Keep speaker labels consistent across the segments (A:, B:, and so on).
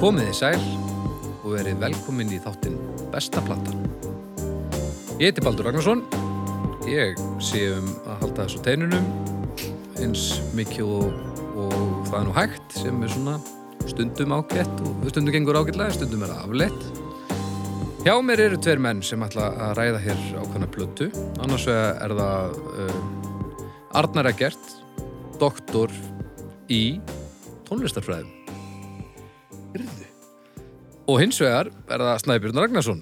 A: Komið þið sæl og verið velkomin í þáttinn Besta platan. Ég heiti Baldur Ragnarsson, ég sé um að halda þessu teinunum eins mikið og, og það er nú hægt sem er svona stundum ágætt og stundum gengur ágætlega, stundum er það afleitt. Hjá mér eru tveir menn sem ætla að ræða hér ákvæmna plötu, annars vegar er það uh, Arnar Eggert, doktor í tónlistarfræðum. Og hins vegar er það Snæbjörn Ragnarsson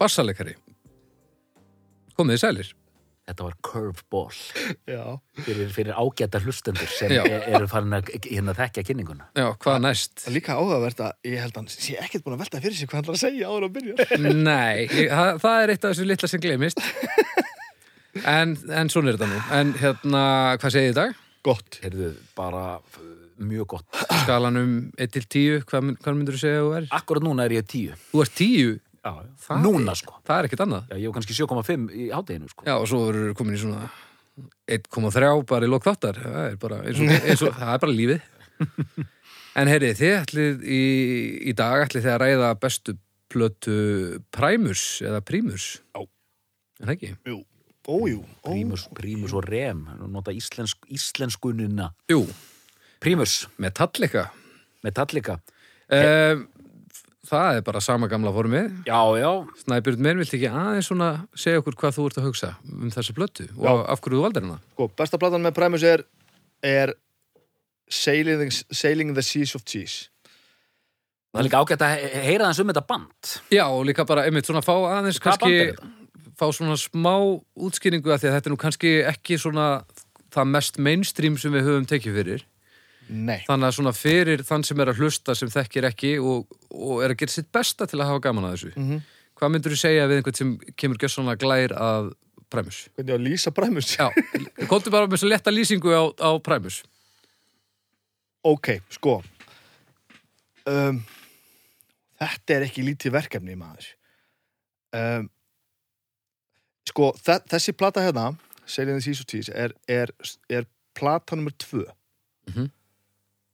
A: Bassaleikari Komið þið sælir
B: Þetta var curveball
C: Já,
B: fyrir, fyrir ágæta hlustendur sem
A: Já.
B: e- eru farin að k- hérna þekkja kynninguna.
A: Já, hvað næst?
C: það er líka áhugavert að ég held að hann sé ekkert búin að velta fyrir sér hvað hann var að segja áður að byrja.
A: Nei, ég, það, það er eitt af þessu litla sem glemist En, en svona er þetta nú En hérna, hvað segið þið í dag?
C: Gott.
B: Heyrðu, bara f- mjög gott.
A: Skalan um 1 til 10, hvað, mun- hvað myndur þú segja að þú er?
B: Akkurat núna er ég tíu.
A: Þú ert 10,
B: Já,
A: Það
B: núna sko.
A: það er ekkert annað
B: Já, ég var kannski 7,5 í hátteginu sko.
A: Já, og svo eru komin í svona 1,3 bara í lok þáttar það er bara, eins og, eins og, það er bara lífið En herri, þið ætlið í, í dag ætlið þið að ræða bestu plötu Primus eða Primus
C: Já.
A: En ekki?
C: Jú. Ójú. Ó,
B: Prímus, prímus og rem. Nú Nota íslensk, íslenskunina.
A: Jú,
B: Prímus,
A: Metallica
B: Metallica.
A: um, Það er bara sama gamla formið
B: Já, já.
A: Snæbjörn mér vilt ekki aðeins svona segja okkur hvað þú ert að hugsa um þessa plötu og af hverju þú valdir hana
C: Sko, besta platan með Primus er, er Sailing, the- Sailing the Seas of Cheese.
B: Það er líka ágætt að he- heyra þess um þetta band.
A: Já, og líka bara, einmitt, svona fá aðeins
B: Hvaða band er
A: kannski, fá svona smá útskýringu af því að þetta er nú kannski ekki svona það mest mainstream sem við höfum tekið fyrir
C: Nei.
A: þannig að svona fyrir þann sem er að hlusta sem þekkir ekki og, og er að gera sitt besta til að hafa gaman að þessu
C: Mhm.
A: hvað myndur þú segja við einhvern sem kemur gjössanlega glær að Primus?
C: Hvernig á að lýsa Primus?
A: Já, komdu bara með svo letta lýsingu á, á Primus
C: Ok, sko. Um, þetta er ekki lítið verkefni, maður. Um, sko, þe þessi plata hérna, Sailing the Seas of Cheese, er, er, er plata nummer tvö.
A: Mhm.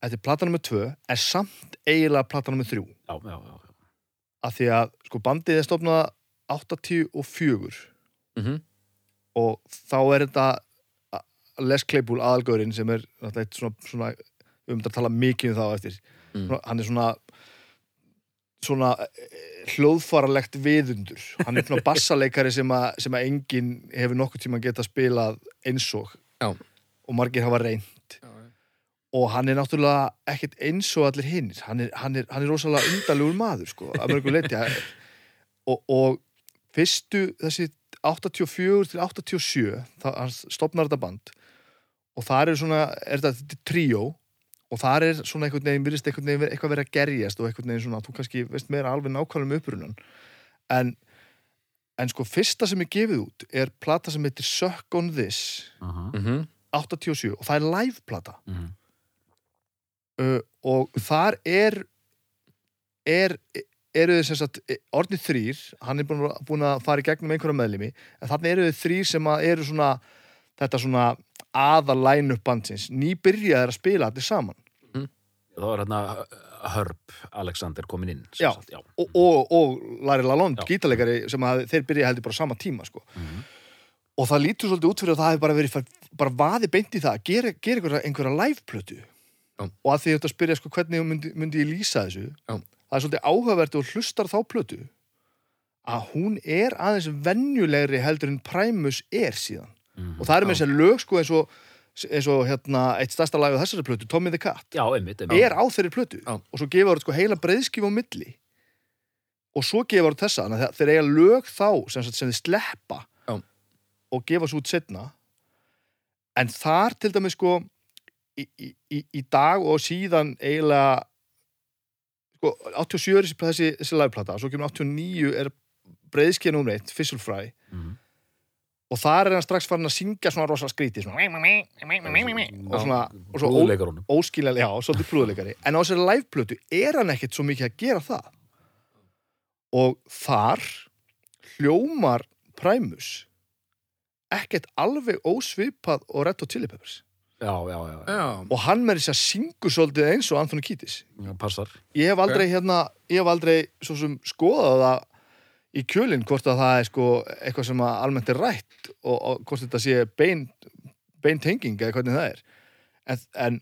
C: Þetta er plata nummer tvö, er samt eiginlega plata nummer þrjú.
B: Já, já, já. já.
C: Af því að, sko, bandið er stofnað 84
A: mm
C: og þá er þetta a- Les Claypool aðalgörinn sem er náttúrulega eitt svona, svona við um þetta að tala mikið um það á eftir
A: Mm.
C: Svona- hann er svona svona eh, hljóðfaralegt viðundur hann er svona bassaleikari sem að, sem að enginn hefur nokkuð tíma geta spilað eins og
A: Já.
C: og margir hafa reynd og hann er náttúrulega ekkert eins og allir hinnir hann er, hann er, hann er rosalega undalugur maður sko, að mörgum leiti og, og fyrstu þessi 84 til 87 það, hann stopnar þetta band og þar er svona, er þetta- þetta er tríó og þar er svona einhvern veginn virðist einhvern veginn ver- eitthvað verið að gerjast og einhvern veginn svona, þú kannski veist meira alveg nákvæmlega um upprunan en, en sko fyrsta sem er gefið út er plata sem heitir Suck on This
B: Aha.
A: -hmm.
C: 87 og það er live plata
B: Mhm.
C: uh, og þar er er eru þið sem sagt eh, orðnir þrýr hann er búin að, búin að fara í gegnum einhverja meðlimi en þannig eru þið þrýr sem að eru svona þetta svona aða line-up bandsins nýbyrjaðir að spila allir saman
B: Þá er hérna uh, Herb Alexander komin inn. sem
C: Já.
B: sagt, já.
C: og, og, og Larry LaLonde,
B: Já.
C: gítalegari sem að þeir byrja heldur bara á sama tíma sko.
B: Mhm.
C: og það lítur svolítið út fyrir að það hefur bara verið far- bara vaði beint í það að gera, gera einhverja, einhverja live-plötu
A: Já.
C: og að því ég ætti að spyrja sko, hvernig myndi, myndi ég lýsa þessu
A: Já.
C: það er svolítið áhugavert og hlustar þá plötu að hún er aðeins venjulegri heldur en Primus er síðan
B: Mhm.
C: og það er með þess að lög sko eins og eins og hérna eitt stærsta lagið á þessari plötu Tommy the Cat
B: Já, einmitt, einmitt.
C: er á þeirri plötu
A: Já.
C: og svo gefur þetta sko heila breiðskif á milli og svo gefur þetta þessa þannig að þeir eiga lög þá sem, sagt, sem þeir sleppa
A: Já.
C: og gefa svo út setna en þar til dæmis sko í, í, í í dag og síðan eiginlega sko, 87 er þessi, þessi, þessi lagplata svo kemur 89 er breiðskif nummer 1, Fizzle Fry
B: Mhm.
C: og þar er hann strax farin að syngja svona rosa skríti svona, og svona, og svo ó-
B: Blóðleikar honum.
C: óskiljanlega, já, svolítið prúðuleikari en á þessari liveplötu er hann ekkert svo mikið að gera það og þar hljómar Primus ekkert alveg ósvipað og Red Hot Chili Peppers
B: já, já, já,
A: Já,
C: og hann með þess að syngur svolítið eins og Anthony Kittis
B: já, passar.
C: ég hef aldrei hérna, ég hef aldrei svo sem skoðað það í kjölinn hvort að það er sko eitthvað sem að almennt er rætt og, og hvort þetta sé bein, bein tenging eða hvernig það er en, en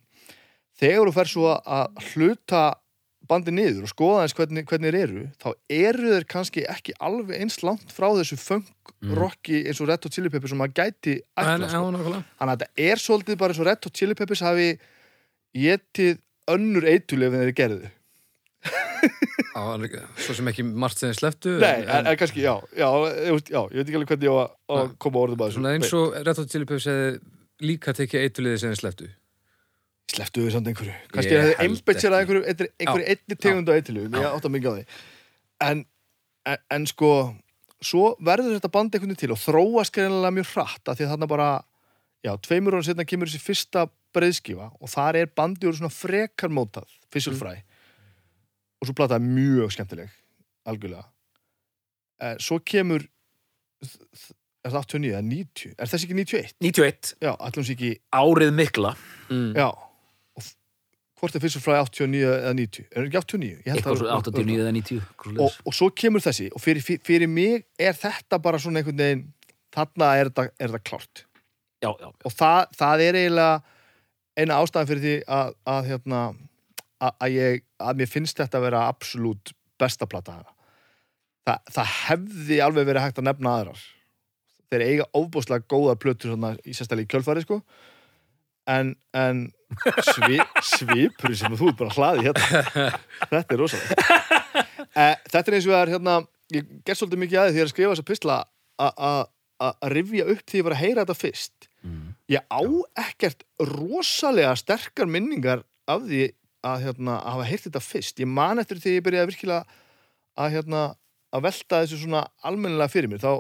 C: þegar þú fer svo að hluta bandi niður og skoða eins hvernig, hvernig þeir eru þá eru þeir kannski ekki alveg eins langt frá þessu funk
B: Mm.
C: rocki eins og Red Hot Chili Peppers sem maður gæti
A: en,
C: ætla,
A: já,
C: sko.
A: nákvæmlega
C: Þannig að þetta er svolítið bara eins og Red Hot Chili Peppers hafi getið önnur eitulef en þeir gerðu
A: Já, en líka- Svo sem ekki margt sem þeir sleftu
C: Nei,
A: en,
C: en, en kannski, já, já, ég veist, já, ég veit ekki alveg hvernig ég á að- á að
A: Nei.
C: koma orðum að þessu.
A: svona eins og Red Hot Chili Peppers hefði líka tekið eituliði sem þeir sleftu
C: Sleftu við samt einhverju.
A: Ég
C: Kannski er það
A: held
C: einbætt sér að
A: ekki.
C: einhverju, einhverju, einhverju einni tegund á eittilugum, ég átta mikið á því. En, en, en sko, svo verður þetta band einhvern veginn til og þróast greinlega mjög hratt, af því að þarna bara, já, tveimur ára setna kemur þessi fyrsta breiðskifa og þar er bandi úr svona frekar mótað,
A: Mm.
C: fissulfræ. Og svo plataði mjög skemmtileg, algjörlega. Eh, Svo kemur, þ- þ- er það 89 eða 90? Er þessi ekki 91?
B: 91,
C: Já, allum sé ekki
B: árið mikla,
A: mm.
B: Mhm.
C: Já og f- Hvort er Fisher Fry 89 eða 90? Er það ekki 89? Ég held
B: eitthvað
C: að-
B: svo 89 eða 90. eitthvað
C: og,
B: svoleiðis.
C: og svo kemur þessi og fyrir, fyrir mig er þetta bara svona einhvern veginn þarna er þetta, er þetta klárt
B: Já, já,
C: og það, það er eiginlega eina ástæðan fyrir því að, að hérna að, að ég, að mér finnst þetta að vera absolutt besta plata hana Þa, það hefði alveg verið hægt að nefna aðrar þeir eiga ofbúslega góða plötur svona, í sérstæli kjölfari sko en, en svi, svipur sem þú er bara hlaði hérna þetta er rosalega e, þetta er eins og það er hérna ég gerst svolítið mikið aðeins því ég er að skrifa þessa pistla að- að að- að rifja upp því ég var að heyra þetta fyrst
B: Mm.
C: ég á ekkert rosalega sterkar minningar af því að, hérna, að hafa heyrt þetta fyrst ég man eftir því ég byrjaði virkilega að, hérna, að velta þessu svona almennilega fyrir mér þá,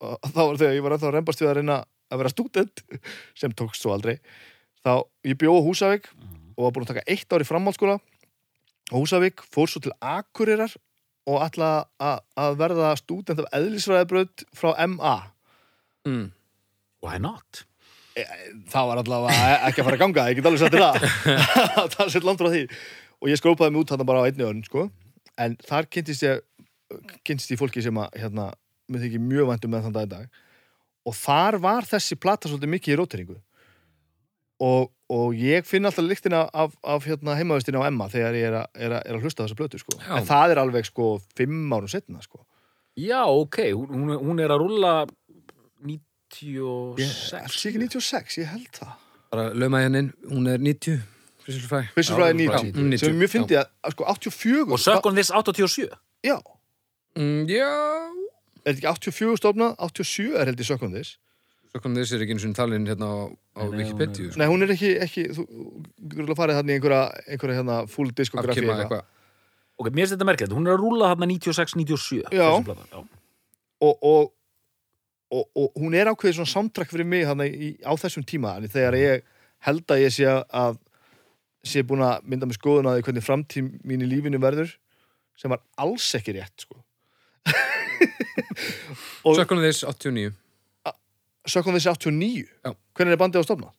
C: þá var þegar ég var ennþá að rembast við að reyna að vera stúdent sem tókst svo aldrei þá ég bjó á Húsavík og var búin að taka eitt ár í framhaldsskóla og Húsavík fór svo til Akureyrar og ætla að, að verða stúdent af eðlisfræðibraut frá MA
A: Mm.
B: why not?
C: það var allavega e- ekki að fara að ganga ég get alveg sagt þér það það er sér langt frá því og ég skrópaði mig út þarna bara á einni önn sko. en þar kynntist ég kynntist ég fólki sem að hérna, mér þykir mjög væntum með þann dag í dag og þar var þessi plata svolítið mikið í róteringu og, og ég finn alltaf lyktina af, af hérna, heimavistina á Emma þegar ég er, a, er, a, er að hlusta á þessa blötu sko.
A: Já.
C: en það er alveg sko fimm árum setna sko.
B: Já, ok, hún, hún- hún er að rúlla 96.
C: ég, alls ekki 96, ég held það
A: Bara lögmaði hennin, hún er 90 Priscilla Fry.
C: Fisher
B: Já,
C: Fry er
B: hún er
C: 90,
A: bara 90,
C: sem mér
A: já.
C: fyndi að, að sko 84
B: Og Sökkon Viss 87.
C: já,
A: Mm, Já
C: er þetta ekki 84 stofnað, 87 er held í sökkundis
A: Svo kom þessi er ekki eins og talin hérna á, á
B: Nei, nei,
A: Wikipedia sko.
C: nei, hún er ekki, ekki þú þú getur alveg farið þannig einhverja, einhverja hérna full diskografi
A: Afkima eitthvað
B: Ok, mér finnst þetta merkilegt, hún er að rúlla þarna 96-97.
C: Já.
B: Já.
C: og, og, og, og hún er ákveðið svona samtrakk fyrir mig þannig í, á þessum tíma þannig þegar ég held að ég sé að sé búin að mynda með skoðun að hvernig framtíð mín í lífinu verður sem var alls ekki rétt sko. Og-
A: Sökkunum þess 89
C: sökum þessi 89
A: Já.
C: hvernig er bandið á stofna?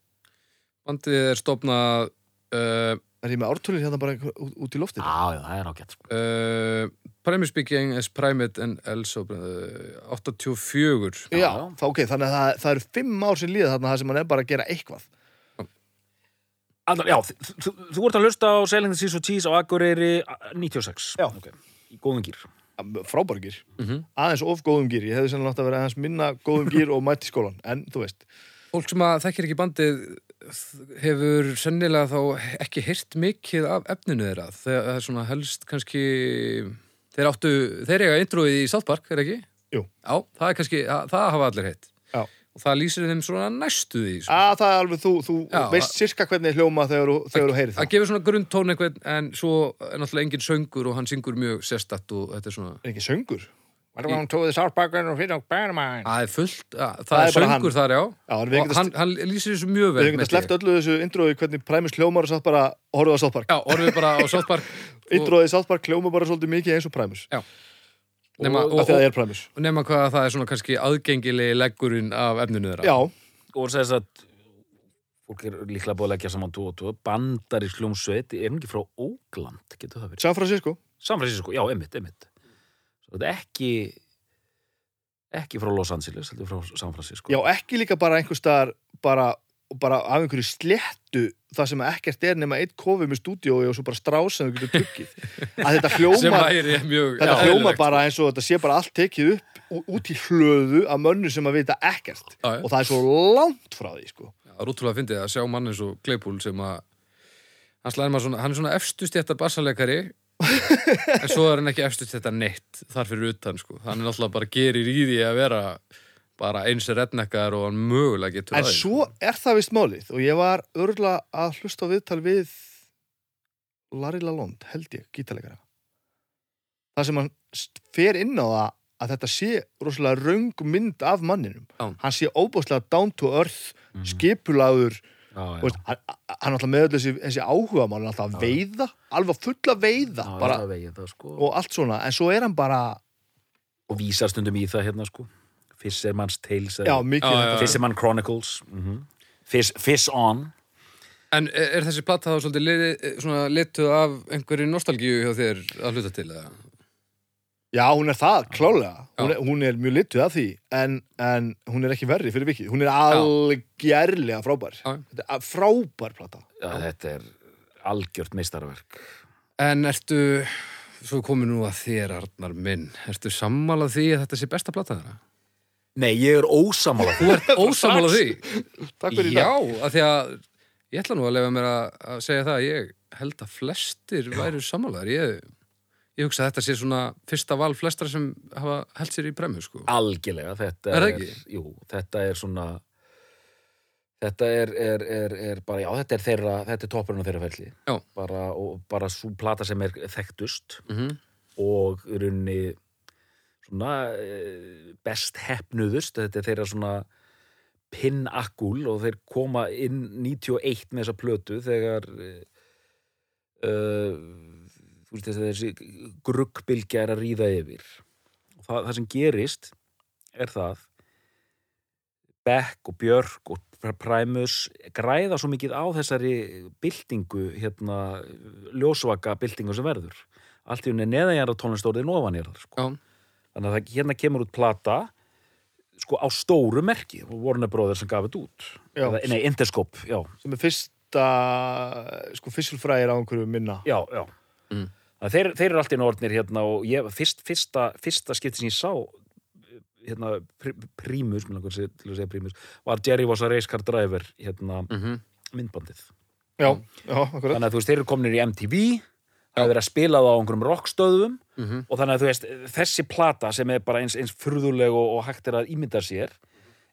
A: Bandið er stofnað uh,
C: Er ég með ártölin hérna bara út, út í loftið?
B: Já, já, það er ágætt. sko.
A: uh, Primus Speaking as Primate and Elso uh, 84
C: Já,
B: Já.
C: þá ok, þannig að það, það eru fimm ár sem líða þarna það sem hann er bara að gera eitthvað.
B: Allar, já, þ- þ- þú- þú ert að hlusta á Sailing the Seas og Cheese á Akureyri a- 96.
C: Já.
B: Ok, Í góðum gýr.
C: Frábærgir,
A: mm
C: aðeins of góðum gýr, ég hefði sennilega átt að vera aðeins minna góðum gýr og mætt í skólan, en þú veist.
A: Fólk sem að þekkir ekki bandið hefur sennilega þá ekki heyrt mikið af efninu þeirra þegar það er svona helst kannski þeir áttu, þeir eiga introið í South Park, er ekki?
C: Jú.
A: Já, það er kannski, það, það hafa allir heitt
C: Já.
A: og það lýsir þeim svona næstu því sko. svona.
C: Að það er alveg, þú, þú
A: Já,
C: veist sirka hvernig hljóma þegar, þú- þegar þú heyrir
A: það
C: það.
A: gefur svona grundtón einhvern en svo er náttúrulega enginn söngur og hann syngur mjög sérstatt og þetta er svona
C: Er ekki söngur?
D: What about to the South Park and Freedom Bear Mine?
A: að það er fullt, að, það,
C: Það
A: er,
C: er bara
A: söngur
C: hann.
A: þar já
C: Já, en við
A: og
C: getum
A: hann, hann lýsir þessu mjög vel
C: Við hefum
A: með
C: getað sleppt öllu þessu indrói hvernig præmis hljómar og satt bara að horfa á South Park.
A: Já, orðið bara á South Park og,
C: Indróið í South Park hljóma bara svolítið mikið eins og præmis.
A: nema,
C: Af því að það er præmis.
A: Og nema hvað að það er svona kannski aðgengilegi leggurinn af efninu þeirra.
C: Já,
B: Og þess að Fólk er líklega búið að leggja saman 2 og 2 Bandar í sljómsveit, er hann ekki frá Ógland Getur það verið?
C: San Francisco
B: Samfræsisko, já, einmitt, einmitt Svo þetta er ekki ekki frá Los Angeles, heldur frá San Francisco
C: Já, ekki líka bara einhvers staðar bara, bara af einhverju sléttu það sem ekkert er nema eitt kofi með stúdíói og svo bara strás sem þú getur tuggið að þetta
A: sem
C: hljómar
A: væri mjög
C: þetta
A: eðlilegt. sko.
C: hljómar bara eins og þetta sé bara allt tekið upp ú- út í hlöðu af mönnu sem að vita ekkert
A: Já, já.
C: og það er svo langt frá því sko.
A: Það er útrúlega að fyndið að sjá mann eins og Gleipúl sem að hann, slær maður svona, hann er svona efstu stjættar bassaleikari en svo er hann ekki efstu stjættar neitt þar fyrir utan sko. hann er náttúrulega bara gerir í því að vera bara eins rednekkar og hann mögulega getur
C: en
A: aðeins.
C: svo er það vist málið og ég var örgulega að hlusta á viðtal við Larry Lalonde held ég, gítalegara það sem hann st- fer inn á það að þetta sé rosalega röng mynd af manninum
A: Já.
C: hann sé óbúslega down to earth
B: Mhm.
C: skipulagur
B: já,
C: Þú veist, hann hann alltaf með öll þessi, þessi áhuga mál alltaf að
B: Já.
C: veiða, alveg fulla veiða
B: já,
C: bara,
B: já, vegið, það, sko. og,
C: og allt svona, en svo er hann bara
B: og vísar stundum í það hérna sko Fisherman's Tales
C: já,
B: eða-
C: mikið
A: Já,
C: já,
A: já, já.
B: Fisherman Chronicles mm Fish, Fish On
A: En e- er er þessi platta þá svolítið liti, svona litu af einhverju nostalgíu hjá þér að hluta til? Eða?
C: hún er það, klálega
A: Já.
C: hún er, hún er mjög lituð af því en, en hún er ekki verri fyrir vikið hún er algjörlega frábær
A: Já.
C: Þetta er frábær plata
B: já, þetta er algjört meistarverk
A: En ertu, svo komið nú að þér Arnar minn, ertu sammálað því að þetta sé besta platta þeirra?
B: Nei, ég er ósamála
A: Þú ert ósammálað því?
C: Takk fyrir í
A: Já,
C: dag
A: af því að ég ætla nú að lefa mér að, að segja það að ég held að flestir væru sammálaðar. Ég, ég hugsa að þetta sé svona fyrsta val flestra sem hafa held sér í premju, sko.
B: Algjörlega, þetta
A: Er
B: er,
A: það ekki?
B: jú, þetta er svona þetta er, er, er, er bara, já, þetta er þeirra þetta er toppurinn á þeirra ferli
A: Já.
B: bara, og bara svo plata sem er þekktust
A: Mm
B: og í rauninni svona eh, best hefnuðust þetta er þeirra svona pinnakkúl og þeir koma inn 91 með þessa plötu þegar eh, eh, þú veist þessi, þessi gruggbylgja er að ríða yfir og það, það sem gerist er það Beck og Björk og Pr- Primus græða svo mikið á þessari byltingu hérna, ljósvaka byltingu sem verður allt í unni neðanjara tónlistórið ofan er það sko.
A: Já.
B: þannig að það, hérna kemur út plata sko á stóru merki Warner Brothers sem gaf þetta út
C: Já.
B: Eða, nei, Interscope, já,
C: sem er fyrsta sko fissulfræðir á einhverju minna
B: já, já.
A: Mm.
B: Þannig að Þeir, þeir eru alltaf í orðnir hérna og ég, fyrst, fyrsta, fyrsta skipti sem ég sá hérna, pr prímus, mér langar að segja- til að segja prímus var Jerry was a race car driver hérna, myndbandið
C: já, já akkurat
B: þannig að þú veist, þeir eru komnir í MTV það er verið að spila það á einhverjum rockstöðum
A: Mhm.
B: og þannig að þú veist, þessi plata sem er bara eins, eins furðuleg og, og hægt er að ímynda sér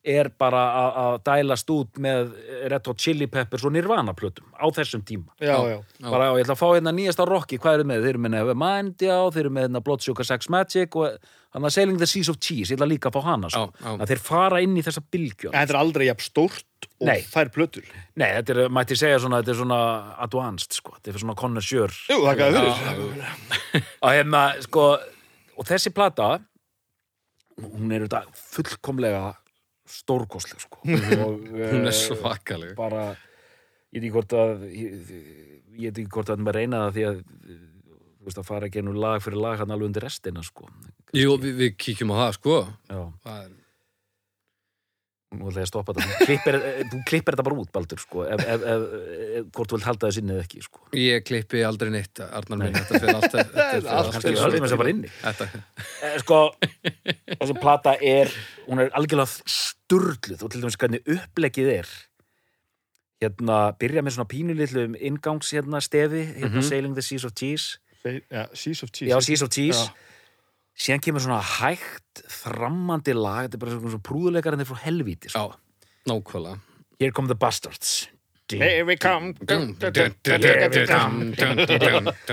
B: er bara að- að dælast út með Red Hot Chili Peppers og Nirvana plötum á þessum tíma
C: já, já,
A: Já.
B: bara já, ég ætla að fá hérna nýjasta rocki, hvað eru með? Þeir eru með Never Mind, já, þeir eru með hérna Bloodsugar Sex Magic og hann að Sailing the Seas of Cheese, ég ætla líka að fá hana sko.
A: Já, já.
B: að þeir fara inn í þessa bylgju
C: en þetta er aldrei jafn stórt og
B: Nei.
C: þær plötur
B: Nei, þetta er, mætti segja svona, þetta er svona advanced, sko, þetta er svona connoisseur
C: jú, þakka þér fyrir
B: og hérna, sko og þessi plata hún er þetta fullkomlega stórkostleg, sko og, eh,
A: Hún er svakaleg.
B: bara ég veit ekki hvort að ég ég veit ekki hvort að maður reyna það því að þú veist að fara ekki ennum lag fyrir lag hann alveg undir restina sko
A: Jú, við, við kíkjum á það, sko.
B: já,
A: Það er,
B: nú ætla ég að stoppa þetta Þú klippir, eh, þú klippir þetta bara út Baldur sko ef, ef, ef, ef, hvort þú vilt halda þessi inn eða ekki sko
A: ég klippi aldrei neitt, Arnar minn, þetta fyrir allt. Þetta fer
C: Allt
A: allt-
B: kannski
C: er-
B: höldum þess að bara inni
A: Þetta,
B: Eh, sko, þessi plata er hún er algjörlega sturluð og til dæmis hvernig uppleggið er hérna, byrja með svona pínulitlum inngangs hérna stefi hérna Sailing the Seas of Cheese
C: Já, Seas of Cheese
B: Já, Seas of Cheese
C: Já.
B: síðan kemur svona hægt þrammandi lag, þetta er bara svona prúðuleikar en þeir frá helvíti
A: já,
B: sko.
A: nákvæmlega.
B: Here come the bastards
D: Here we come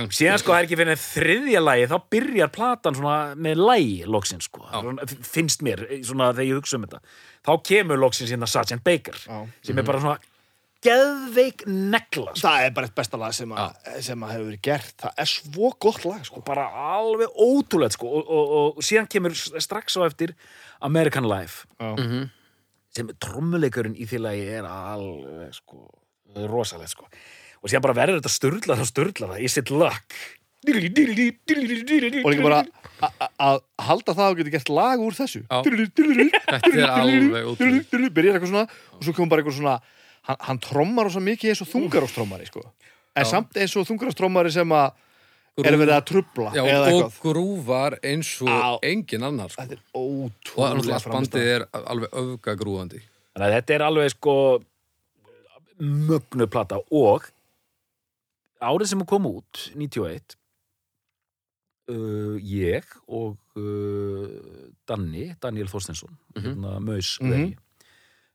B: síðan sko það er ekki fyrir þriðja lagi þá byrjar platan svona með lagi loksins sko,
A: Já.
B: Svona, finnst mér svona þegar ég hugsa um þetta þá kemur loksins hérna Sgt. Baker
C: Já. Mhm.
B: sem er bara svona geðveik negla sko.
C: það er bara eitt besta lag sem að, sem að hefur verið gert það er svo gott lag sko.
B: bara alveg ótrúlega sko og, og, og síðan kemur strax á eftir American Life
C: Já.
B: -hmm. sem trommuleikurinn í félagi er alveg sko rosalegt sko og síðan bara verður þetta sturlaða sturlaða is it luck og
C: og
B: líka
C: líka bara a- a- að halda það og geta gert lag úr þessu
A: Já.
C: þetta
A: Þetta er alveg ótrúlegt.
C: byrjar eitthvað svona og svo kom bara eitthvað svona hann, hann trommar og svo mikið eins og þungaróstrómari sko. en
A: Já.
C: samt eins og þungaróstrómari sem að er verið að trubla
A: Já,
C: eða
A: og
C: eitthvað
A: grúvar eins og engin annar sko.
C: þetta er
A: og
C: ótrúlega
A: náttúrulega bandið
C: framist
A: er alveg öfgagrúandi
B: Þannig að þetta er alveg sko mögnu plata og árið sem hún kom út 91 uh, ég og uh, Danni, Daniel Þorstensson
A: Mhm.
B: hérna Maus
C: Mhm.
B: vegi.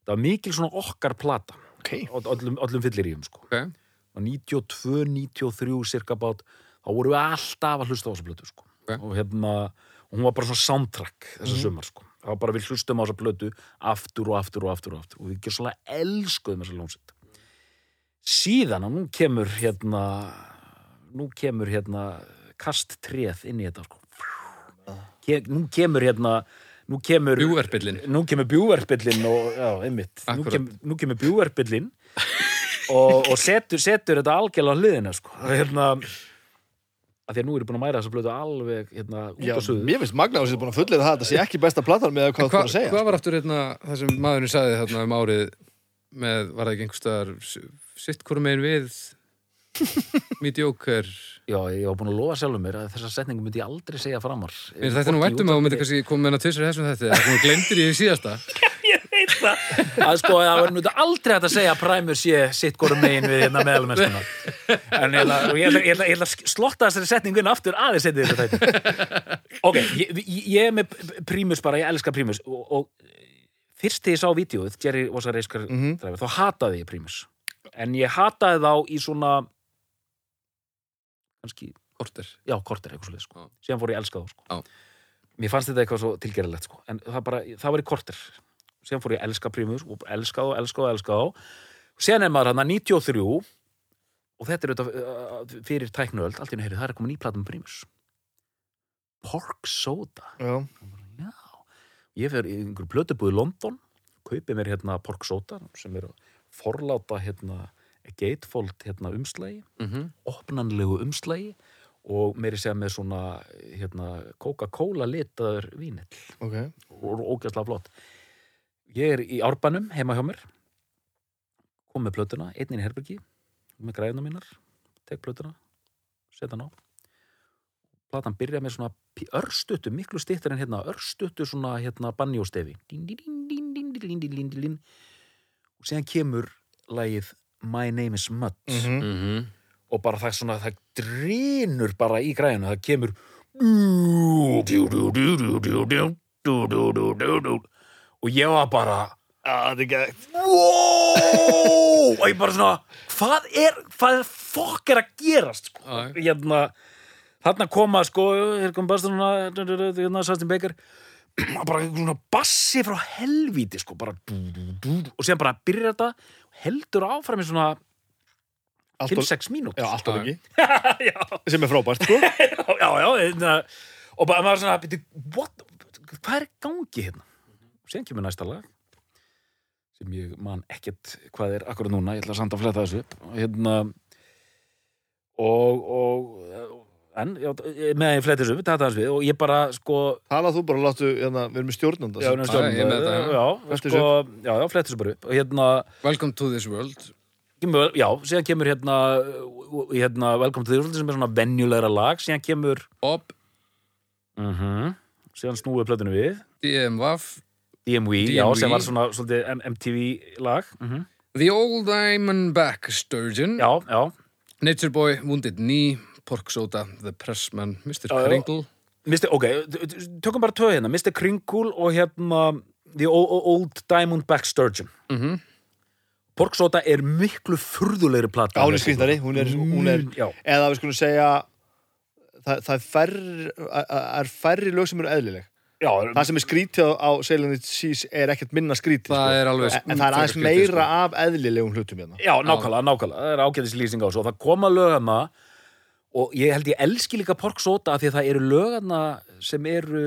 B: það var mikil svona okkar plata
C: okay.
B: all- öllum, öllum fylliríum sko
A: Ok.
B: og 92, 93 cirka bát þá vorum við alltaf að hlusta á þessa plötu sko.
A: Ok.
B: og hérna og hún var bara svona soundtrack þessa sumar sko. það var bara við hlustum á þessa plötu aftur og aftur og aftur og aftur og við ekki svona elskuðum þessa lónsett síðan og nú kemur hérna nú kemur hérna kast treð inn í þetta sko. Ke- nú kemur hérna nú kemur
A: Bjúverpillin
B: nú kemur bjúverpillin og, já, einmitt, nú,
A: Akkúrat.
B: kem, nú kemur bjúverpillin og, og setur, setur þetta algjörlega á hliðina, sko Og hérna, að því að nú eru búin að mæra þess að blötu alveg, hérna, út
C: Já,
B: á suðu
C: mér finnst magna á sér búin að fullera það þetta sé ekki besta platan með hvað þú
A: Hva,
C: búin að segja sko.
A: Hvað var aftur hérna, það sem maðurinn sagði þarna um árið með, var það ekki einhverstaðar sitt hvorum megin við mediocre
B: já, ég var búin að lofa sjálfum mér að þessa setningu myndi ég aldrei segja framar
A: Mér finnst þetta er nú væntum að þú myndir kannski koma með hana tvisar þessum þetta eða hún glemdir í því síðasta
B: ég veit það að sko, það var nú aldrei hægt að segja að Primus sé sitt hvorum megin við hérna meðalmestuna en ég ætla, og ég ætla, ég ætla, ég ætla að slotta þessari setningu inn aftur aðeins einnig þetta tæti ok, ég, ég- ég er með Primus bara, ég elska Primus og, og fyrst þegar ég sá vídjóið, Jerry was a race car
C: Mhm.
B: driver, þá hataði ég Primus en ég hataði þá í svona kannski
A: Korter
B: já, korter eitthvað svolítið, sko.
A: Já.
B: síðan fór ég að elska þá, sko.
A: Já.
B: Mér fannst þetta eitthvað svo tilgerilegt, sko. En það bara, það var í korter. Síðan fór ég að elska prímus og elska þá, elska þá, elska þá. Síðan er maður hann að 93 og þetta er auðvitað uh, fyrir tæknuöld, allt í henni heyrið, það er komin nýplata með prímus. Pork soda.
C: Já,
B: Já. Ég fer í einhverju plötubúð í London, kaupi mér hérna pork soda sem er að forláta hérna gatefold hérna umslagi
A: mm -hmm.
B: opnanlegu umslagi og meiri segja með svona hérna, Coca-Cola litaður vínill
C: ok
B: og ógæslega flott ég er í árbanum heima hjá mér kom með plötuna, einn inn í herbergi með græðuna mínar, tek plötuna setja hann á platan byrja með svona pí- örstuttu, miklu stittar en hérna örstuttu svona hérna banjóstefi Dín, dín, dín, dín, dín, dín, dín, dín, dín. og síðan kemur lagið My Name is Mutt
C: Mhm.
A: Mm
B: og bara það er svona, það drínur bara í græðinu, það kemur og ég var bara
C: Ah, þetta er geðveikt.
B: wow! og ég bara svona hvað er, hvað er fokk er að gerast sko?
A: Já, já.
B: hérna þarna koma sko, hér kom bastur hérna, Sastin Baker bara einhver svona bassi frá helvíti sko, bara dú, dú, dú, dú. og síðan bara byrjar þetta heldur áfram í svona
C: Allt og-
B: 5-6 mínútur
C: Já, allt og
A: Já.
C: lengi
B: já,
C: sem er frábært, sko
B: já, já hérna, og bara maður svona byrju, what, hvað er í gangi hérna og síðan kemur næsta lag sem ég man ekkert hvað er akkur núna, ég ætla samt að fletta þessu upp og hérna og, og en, já, meðan ég fletti þessu upp, þetta hans við og ég bara, sko
C: Talað þú bara og láttu, hérna, við erum með stjórnanda
B: já,
C: sem-
B: já,
A: Já, ég er með þetta, já.
B: já,
C: Flettu
B: sko, já, já, fletti þessu bara upp og hérna,
A: Welcome to this world
B: kemur, já, síðan kemur hérna, uh, hérna Welcome to the World sem er svona venjulegra lag, síðan kemur
A: Bob,
B: mm
A: Mhm.
B: síðan snúið plötunum við
A: DMVAF
B: DMV,
A: DMV.
B: já, sem var svona svolítið M- MTV lag
C: Mhm.
A: The Old Diamondback Sturgeon
B: já, já,
A: Nature Boy, Wounded Knee Pork Soda, The Pressman Mr.
B: Já, já.
A: Kringle
B: Mr. ok t- t- tökum bara töð hérna, Mr. Kringle og hérna The O- O- Old Diamondback Sturgeon
A: mm
C: Mhm.
A: -hmm.
B: Pork Soda er miklu furðulegri plata
C: Já, hún er skrýndari, hún er, hún er
B: Mm, já,
C: eða við skulum segja það, það er, færri, að- að- er færri lög sem eru eðlileg
A: Mm.
B: já,
C: það sem er skrítið á Sailing It Seas er ekkert minna skrítið
A: Það
C: sko.
A: er alveg mm,
C: en, en það er aðeins
A: skrítið,
C: meira af eðlilegum hlutum hérna
B: já, nákvæmlega, nákvæmlega það er ágætis lýsing á þessu og það koma lögana og ég held ég elski hérna líka Pork Soda af því að það eru lögana sem eru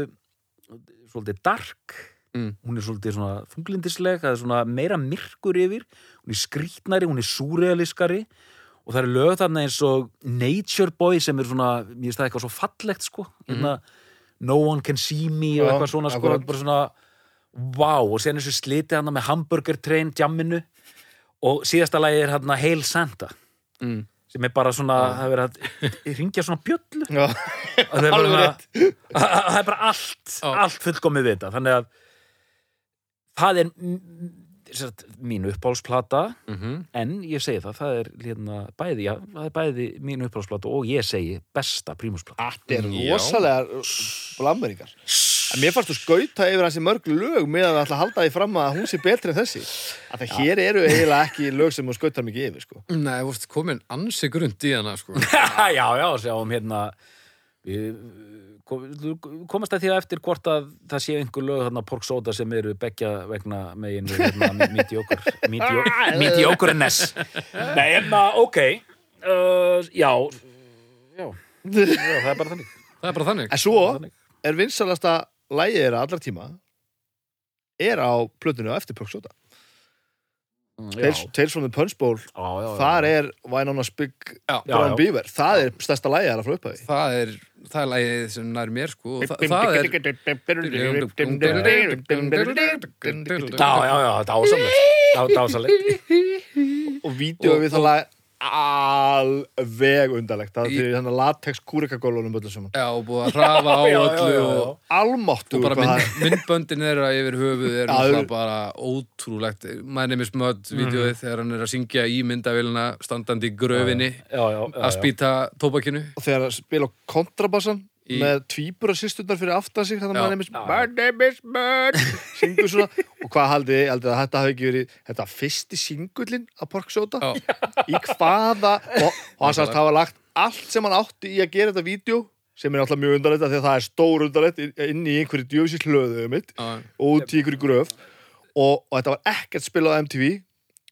B: svolítið dark
A: sko. Mm.
B: hún er svolítið svona þunglindisleg það er svona meira myrkur yfir hún er skrítnari, hún er súrealiskari og það eru lög þarna eins og Nature Boy sem er svona mér finnst það eitthvað svo fallegt sko mm No One Can See Me og
C: Já,
B: eitthvað svona sko,
C: akkurat.
B: bara svona wow, og síðan þessu slitið hann með hamburger train jamminu og síðasta lagi er hann Hail Santa
A: Mm.
B: sem er bara svona, það er verið að ringja svona bjöllu
C: Já,
B: Og það er bara
C: Alveg
B: svona- að- að- að það er bara allt
A: Já.
B: allt fullkomið við þetta þannig að það er mm, sem sagt, mín uppáhalsplata
A: Mm
C: Mhm.
B: en ég segi það, það er hérna bæði, já, það er bæði mín uppáhalsplata og ég segi besta prímusplata
C: þetta er
A: Já.
C: rosalega blammeringar. En mér fannst þú skauta yfir hans í mörg lög með að það ætla að halda því fram að hún sé betri en þessi. Að það hér eru eiginlega ekki lög sem þú skautar mikið yfir, sko.
A: Nei, þú vorst komin ansi grund í hana, sko.
B: já, já, sjáum hérna við kom- þú komast að því að eftir hvort að það sé einhver lög þarna Pork Soda sem eru beggja vegna megin við hérna mediocre mediocre- mediocreness nei, hérna, ok uh, já, já já, það er bara þannig
A: Það er bara þannig.
C: En svo
B: Þannig.
C: er vinsalasta lægið þeirra allar tíma er á plötunni á eftir Pöksóta.
B: Já,
C: Tales, Tales from the Punch Bowl,
B: já, já, já.
C: þar er Væn on a Spig
A: Já.
B: Já,
C: Brown
B: já.
C: Beaver. Það er stærsta lægið þeirra frá upphæði.
A: Það er, það er lagið sem nær mér, sko. og Það, það er...
B: Já, já, já, dásamlegt Dá, Dásamlegt
C: Og vídeo
A: Og-
C: við það lag alveg undarlegt. Það er þannig að latex kúrikagólunum öllum saman.
A: Já, og búið að hrafa á
B: Já, já, já,
A: öllu
B: já.
A: og...
C: Almáttu
A: og bara mynd, myndböndin þeirra yfir höfuð er
C: Já,
A: náttúrulega
C: þau-
A: bara ótrúlegt My name is Mud
B: Mm.
A: videóið þegar hann er að syngja í myndavélina standandi í gröfinni
B: Já, já, já,
A: að
B: já.
A: spýta tóbakinu
C: og þegar að spila á kontrabassan
A: Í-
C: með tvíbura sýsturnar fyrir aftan sig
A: Já.
C: þannig að maður nefnist
D: My name is Bud.
C: syngur svona og hvað haldið þið, haldið þið að þetta hafi ekki verið þetta fyrsti singullin að Porksóta
A: Já.
C: í hvaða og, og hann sagðist hafa lagt allt sem hann átti í að gera þetta vídeo sem er alltaf mjög undarlegt af því að það er stór undarlegt inn- inn í einhverju djöfisir hlöðuðu mitt
A: Já.
C: og út í einhverju gröf og, og þetta var ekkert spilað á MTV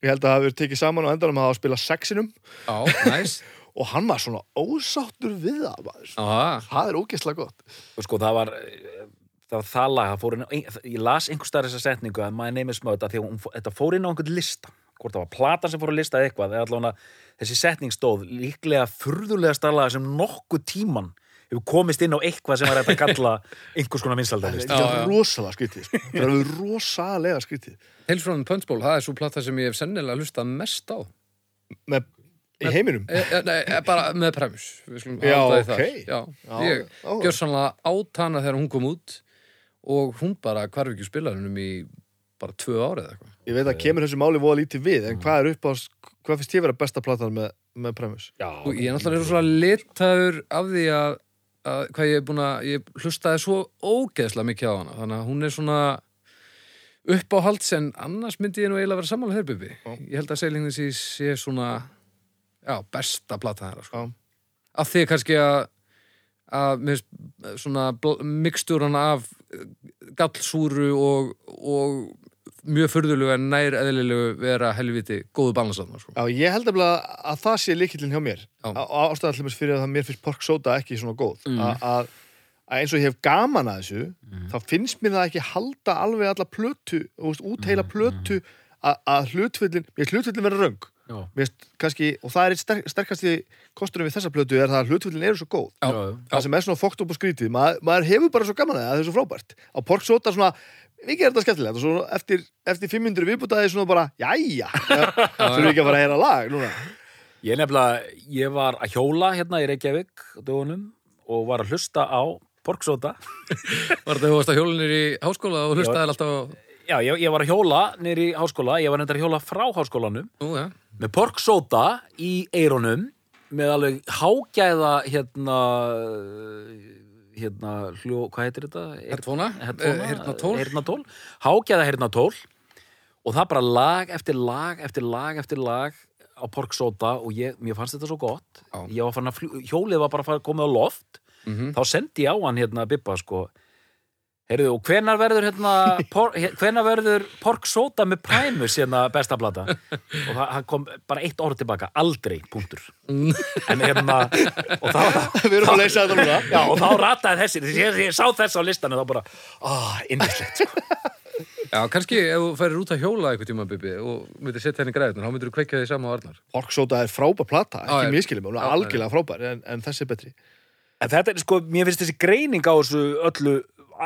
C: ég held að það hafi verið tekið saman og endanum að hafa spilað sexinum
A: Já, næs
C: og hann var svona ósáttur við það maður.
A: Já,
C: það er ógeðslega gott
B: Og Sko, það var það var það lag, það fór inn á ein- ég las einhver staðar þessa setningu að My Name is Mud af því að hún, fó- þetta fór inn á einhvern lista hvort það var plata sem fór að lista eða eitthvað eða allavega þessi setning stóð líklega furðulega starlaga sem nokkuð tíman hefur komist inn á eitthvað sem var hægt að kalla einhvers konar vinsaldarlist
A: já.
C: það er rosalega skrítið sko. það er rosalega skrítið
A: Tales from the Punch Bowl, það er svo platta sem ég hef sennilega hlustað mest á
C: með, í heiminum
A: e, e, Nei, e, bara með premis Við skulum
C: Já,
A: halda í það.
C: ok.
A: Já,
C: Já,
A: Ég
C: já.
A: gjör sannlega át hana þegar hún kom út og hún bara hvarf ekki spilarinum í bara tvö árið eða eitthvað
C: ég veit að kemur þessu máli voða lítið við en hvað er upp á, hvað finnst ég vera besta platan með, með Premus?
B: Já,
A: Og ég er náttúrulega svo litaður af því að, að hvað ég er búin að, ég hlustaði svo ógeðslega mikið á hana, þannig að hún er svona uppáhalds en annars myndi ég nú eiginlega vera sammála hér, Bubi. Ég held að seilingin sé, sé svona, já, besta plata þeirra, sko.
C: Já.
A: Af því kannski að, að mér finnst eh, svona mikstúran af eh, gallsúru og, og mjög furðulegu en nær eðlilegu vera helviti góðu balansaðna, sko.
C: Já, ég held nefnilega að, það sé líkillin hjá mér
A: Já.
C: Á- á- ástæðan til mér fyrir að mér finnst Pork Soda ekki svona góð mm. að að eins og ég hef gaman að þessu þá finnst mér það ekki halda alveg alla plötu, þú veist, út heila plötu að- að hlutfyllin, mér finnst hlutfyllin vera röng
B: Já.
C: Mér finnst kannski, og það er eitt sterk, sterkasti kosturinn við þessa plötu er það að hlutfyllin eru svo góð
A: Já,
C: það sem er svona fókt upp á skrítið maður, maður hefur bara svo gaman að það er svo frábært á Pork Sota svona, við gerum þetta skemmtilegt og svo eftir, eftir 500 viðbútaði svona bara, jæja þurfum við ekki að fara að heyra lag núna
B: Ég nefnilega, ég var að hjóla hérna í Reykjavík á dögunum og var að hlusta á Borgsóta.
A: Var þetta þú varst á hjólinir í háskóla og hlustaði alltaf á...
B: Já, ég, ég var að hjóla niður í háskóla, ég var nefnilega að hjóla frá háskólanum
A: Nú, já.
B: með Borgsóta í eironum með alveg hágæða hérna, hérna, hljó, hvað heitir þetta?
A: Headphonea? Eh, heyrnartól?
B: Hernatól. Hágæða hernatól og það bara lag eftir lag eftir lag eftir lag á Borgsóta og ég, mér fannst þetta svo gott.
A: Já. Mhm.
B: Ég var farin að fljú, hjólið var bara að fara komið á loft þá sendi ég á hann hérna Bibba sko Heyrðu, og hvenar verður hérna por, hvenar verður Pork Soda með Primus hérna besta plata og það, það kom bara eitt orð tilbaka aldrei, punktur en hérna, og þá
C: við erum að leysa þetta núna
B: já, og þá rataði þessi, þegar ég sá þess á listanum þá bara, ah, indislegt sko.
A: Já, kannski ef þú færir út að hjóla eitthvað tíma, Bibi, og myndir setja henni græðunar, þá myndir þú kveikja því sama á Arnar.
C: Orksóta er frábær plata,
A: Já,
C: ekki
A: já.
C: miskilum, hún
A: Já,
C: er
A: já.
C: algjörlega frábær en, en þessi er betri.
B: En þetta er sko, mér finnst þessi greining á þessu öllu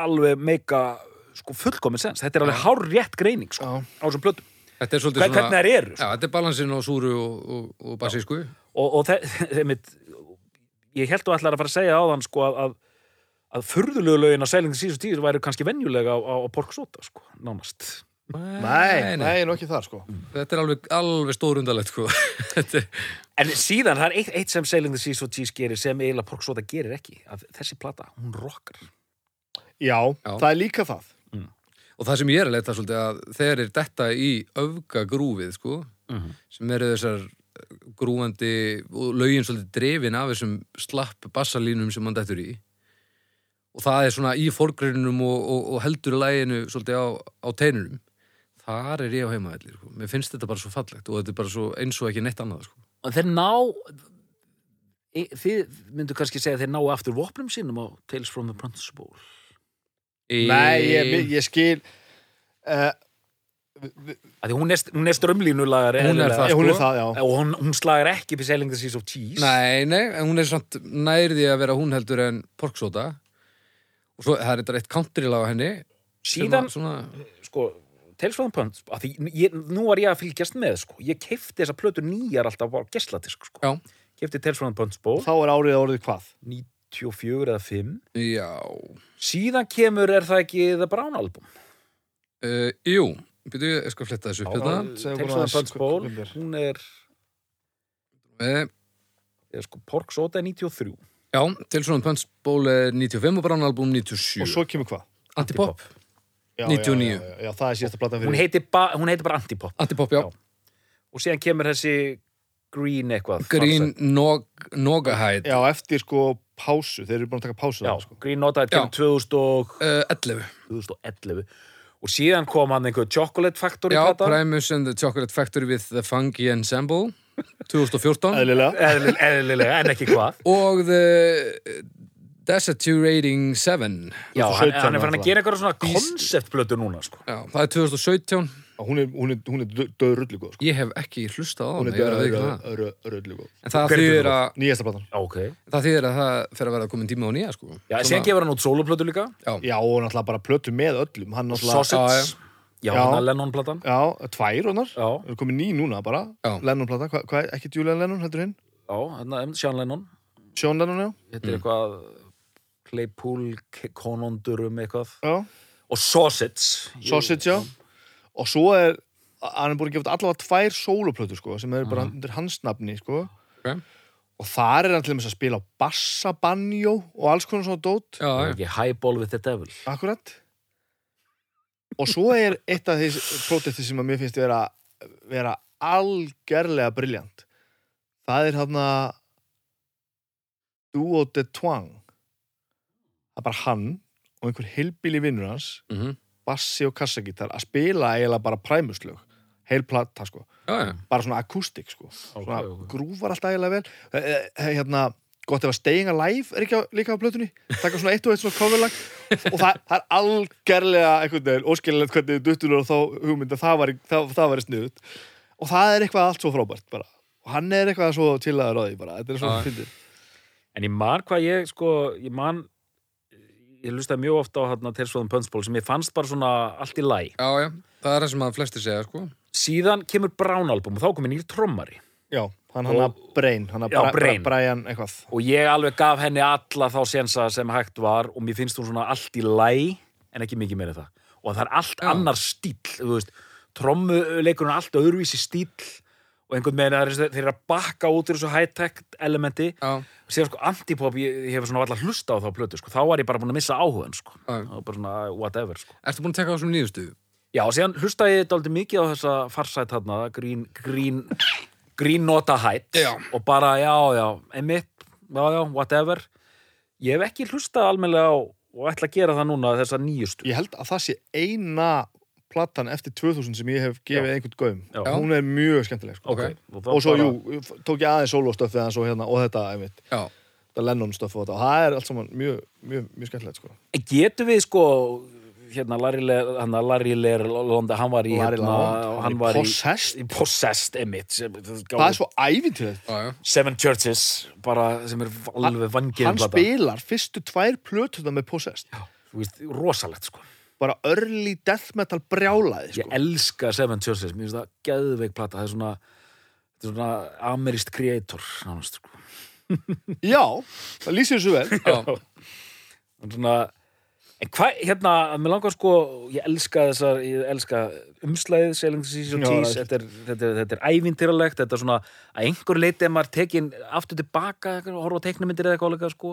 B: alveg meika sko fullkomin sens. Þetta er alveg hár rétt greining sko,
C: Já.
B: á þessum plötum.
A: Þetta er svolítið
B: Hver,
A: svona...
B: hvernig þær eru.
A: Já,
B: Sko.
A: þetta er balansin á súru og, og, og basísku.
B: Og, og þe- þeimitt, ég held þú ætlar að fara að segja á þann sko að, að, að furðulegu lögin á sælingin síðustu tíður væri kannski venjulega á, á, á porksóta sko, nánast.
C: Nei, nei, nú ekki það sko.
A: Þetta er alveg, alveg stórundalegt, sko. Þetta er...
B: En síðan, það er eitt, eitt sem Sailing the Seas og Cheese gerir sem eiginlega Porksóta gerir ekki. Að þessi plata, hún rockar.
C: Já,
A: Já.
C: það er líka það.
A: Og það sem ég er að leta svolítið að þegar er detta í öfgagrúfið, sko,
B: Mhm.
A: sem eru þessar grúandi og lögin svolítið drefin af þessum slapp bassalínum sem hann dettur í. Og það er svona í forgrinunum og, og, og heldur læginu svolítið á, á teinunum. Þar er ég á heimaðallir, sko. Mér finnst þetta bara svo fallegt og þetta er bara svo eins og ekki neitt annað, sko.
B: Og þeir ná, e, þið myndu kannski segja að þeir ná aftur vopnum sínum á Tales from the Principle.
A: Í...
C: Nei, ég, ég skil uh,
B: Að því hún er, hún er strömlínulagari.
A: Hún er
B: eðlilega.
A: það, sko.
C: eh, Hún er það, já.
B: Og hún, hún slagar ekki upp í Sailing the Seas of Cheese.
A: Nei, nei, en hún er samt nærði að vera hún heldur en porksóta og svo það er þetta eitt countrylag á henni sem
B: Síðan,
A: að svona,
B: sko, Tales from the Principle, að því ég, nú var ég að fylgjast með, sko. Ég keipti þessa plötu nýjar alltaf á geslatisk, sko.
A: Já.
B: Keipti Tales from the Principle,
C: Þá er árið orðið hvað?
B: 94 eða 5.
A: já
B: Síðan kemur, er það ekki The Brown Album?
A: uh, Jú, byrju, ég skal fletta þessu upp hérna
C: já. segðu
B: Texas
C: bara
B: and
C: aðeins
B: Punch
C: hvað-
B: Bowl,
C: hvað er.
B: hún er,
A: uh,
B: er sko, Pork Soda er 93.
A: Já, til svona Punch Bowl er 95 og Brown Album 97
C: Og svo kemur hvað?
A: Antipop,
C: Já,
A: 99.
C: Já, já, já, já, það er síðasta platan
B: Hún
C: fyrir.
B: heitir, ba, hún heitir bara Antipop.
A: Antipop, já,
B: Já. Og síðan kemur þessi Green eitthvað.
A: Green
B: farsa.
A: nog, Nogahide
C: Já, eftir sko pásu, þeir eru búin að taka pásu
B: Já,
C: þarna, sko.
B: Green Nota kemur 2000 og,
A: uh, 11
B: 2011. Og síðan kom hann einhver Chocolate Factory
A: Já,
B: plata.
A: Primus and the Chocolate Factory with the Funky Ensemble 2014
C: Eðlilega.
B: Eðlil- Eðlilega, en ekki hvað.
A: og the uh, Desaturating 7
B: Já, hann, hann
C: 2017
B: er farin að
C: náttúrulega.
B: gera eitthvað svona konceptblötu núna, sko.
A: Já, það er 2017
C: Hún er, hún er, hún er döðrullu góð, sko.
A: Ég hef ekki hlustað á
C: Hún
A: hana,
C: er
A: ég verð að veikla það.
C: döðrullu góð.
A: En það
B: Hver er
A: þýðir
B: þetta
A: að,
C: Nýjasta platan.
B: Já, ok.
A: það þýðir að það fer að vera komin tíma á nýja, sko.
B: Já,
A: Svona-
B: síðan gefur hann út soloplötu líka.
C: Já, og náttúrulega bara plötu með öllum. Hann náttúrulega...
B: Sausage. Já,
C: Já.
B: hann er Lennon-platan.
C: Já, tvær honar.
B: Já,
C: Það er komið ný núna bara.
A: Já.
C: Lennon-plata. Hvað, hva, ekki Julian Lennon, heldur hinn?
B: já, hérna, Sean Lennon.
C: Sean Lennon, já.
B: heitir eitthvað Claypool, K- Konondurum eitthvað
C: Já.
B: og Sausage
C: Sausage, já. Og svo er, hann er búin að gefa út allavega tvær sóloplötu, sko, sem er bara undir hans nafni, sko.
A: Mhm. Ok.
C: Og þar er hann til dæmis að spila á bassa, banjó og alls konar svona dót.
A: Já,
B: Það er
A: já.
B: ekki Highball with the Devil
C: Akkurat. Og svo er eitt af því prótekti sem að mér finnst vera, vera algerlega briljant. Það er hann að Duo de Twang. Það er bara hann og einhver heilbíli vinnur hans,
A: Mhm.
C: bassi og kassagítar, að spila eiginlega bara præmuslög. Heil plata, sko.
A: já, já.
C: Bara svona akústik, sko. Svona
B: ok.
C: grúfar alltaf eiginlega vel. Eh, eh, Hérna, gott ef að Staying Alive er ekki á, líka á plötunni. Takka svona eitt og eitt svona coverlag og það, það er algerlega einhvern veginn óskiljanlegt hvernig þið duttur og þá hugmynd að það var, það, það var sniðut og það er eitthvað allt svo frábært bara og hann er eitthvað svo tillaður á því bara þetta er svo
A: Já.
C: fyndir
B: en ég man hvað ég sko ég man, ég lustaði mjög ofta á hérna Tersfóðum Pönsból sem ég fannst bara svona allt í læ
A: Já, já. Það er það sem að flesti segja, sko.
B: síðan kemur Brown album og þá komið nýr trommari
C: já, hann hann að Brain hann að
B: Já, Brain.
C: Brian eitthvað
B: og ég alveg gaf henni alla þá sensa sem hægt var og mér finnst hún svona allt í læ en ekki mikið meira en það og það er allt
A: Já.
B: annar stíll þú veist, trommuleikurinn er allt öðruvísi stíll og einhvern veginn að þeir eru að bakka út úr þessu high-tech elementi
A: Já,
B: síðan sko antipop, ég, ég hef svona alltaf hlusta á þá plötu sko. þá var ég bara búin að missa áhugan sko.
A: já.
B: og bara svona whatever sko.
A: Ertu búin að tekka á þessum nýðustu?
B: já, og síðan hlusta ég dálítið mikið á þessa farsætt hana, grín, grín grín nota hætt
A: Já.
B: og bara já, já, emitt já, já, whatever ég hef ekki hlusta almennilega á og ætla að gera það núna þessa nýjustu
C: ég held að það sé eina platan eftir 2000 sem ég hef gefið einhvern gaum
B: Já.
C: hún er mjög skemmtileg sko.
A: Ok.
B: og,
C: og svo, jú, tók ég aðeins sólóstöfið hans og, hérna, og þetta, einmitt,
A: Já.
C: þetta Lennon stöfið og þetta og það er allt saman mjög, mjög, mjög skemmtilegt sko.
B: getum við sko hérna Larry Ler, hann að Larry Ler Londa, hann var í
C: Larry
B: hérna,
C: Lamont,
B: hann
C: hann
B: var
C: er
B: í,
C: possessed.
B: í Possessed, emitt
C: það er svo ævintýrlegt
A: já, já.
B: Seven Churches, bara sem er alveg vangið
C: hann spilar fyrstu tvær plötuna með Possessed
B: rosalegt sko
C: bara early death metal brjálaði
B: ég
C: sko.
B: elska Seven Churches, mér finnst það geðveik plata, það er svona þetta er svona amerist kreator nánast sko
C: já, það lýsir þessu vel
A: Já.
B: en svona en hvað, hérna, mér langar sko ég elska þessar, ég elska umslæðið, Sailing the Seas og
C: Já,
B: Tees
C: það er-
B: þetta er, þetta, er- þetta er ævintýralegt, þetta er svona að einhver leiti að maður tekin aftur tilbaka, horfa á teiknumyndir eða eitthvað leika sko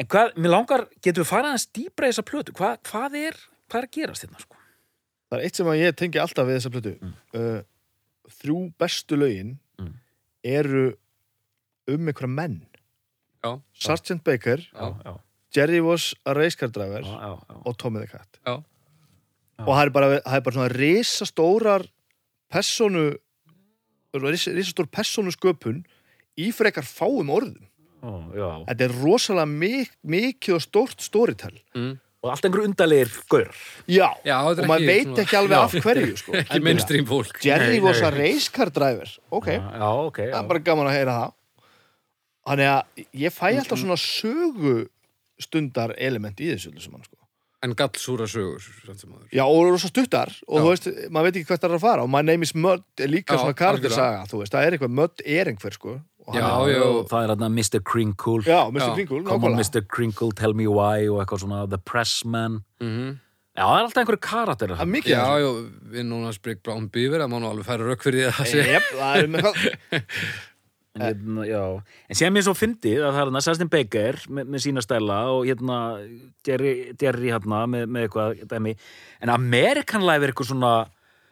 B: en hvað, mér langar, getum við farið aðeins dýpra í þessa plötu, hvað, hvað er hvað er að gerast hérna sko
C: það er eitt sem að ég tengi alltaf við þessa plötu uh, þrjú bestu lögin
B: Mm.
C: eru um einhverja menn
A: Já.
C: Sgt. Baker,
A: Já.
B: já,
C: Jerry was a race car driver
B: já, já, já.
C: og Tommy the Cat
A: Já.
C: og það er bara, það er bara svona risastórar personu ris, risastór personu sköpun í frekar fáum orðum
B: Ó, já.
C: þetta er rosalega mik mikið og stórt storytell
B: og allt einhver undalegir gaur
C: já,
A: Já, þetta er
C: og maður
A: ekki
C: veit
A: svona-
C: ekki alveg
A: Já.
C: af hverju sko.
A: ekki mainstream fólk
C: Jerry
B: Nei,
C: was
B: nei.
C: a race car driver ok,
B: já, ok, já.
C: það er bara gaman að heyra það þannig að ég fæ alltaf svona sögu stundar element í þessu öllu saman, sko.
A: en gallsúra sögur samt sem áður.
C: já, og rosa stuttar og
A: Já.
C: þú veist, maður veit ekki hvert það er að fara og my name is Mudd er líka
A: Já,
C: svona karaktersaga þú veist, það er eitthvað, Mudd er einhver sko, og
A: Já,
C: er,
A: já.
B: það er hérna Mr. Crinkle
C: já, Mr.
A: Já.
C: Kringle,
B: Come on
C: nákvæmlega
B: Mr. Crinkle, tell me why og eitthvað svona The Pressman
A: Mhm.
B: Já, það er alltaf einhverju karakter
C: það er mikið
A: Já,
C: já,
A: já, við núna sprik Brown Beaver að má nú alveg færa rökk fyrir því að það sé
C: Jep, það er með hvað
B: en, hérna, já. en sem ég svo fyndi að það er hérna Sestin Baker með, með sína stæla og hérna Jerry, Jerry hérna með, með eitthvað dæmi. en Amerikan Live er eitthvað svona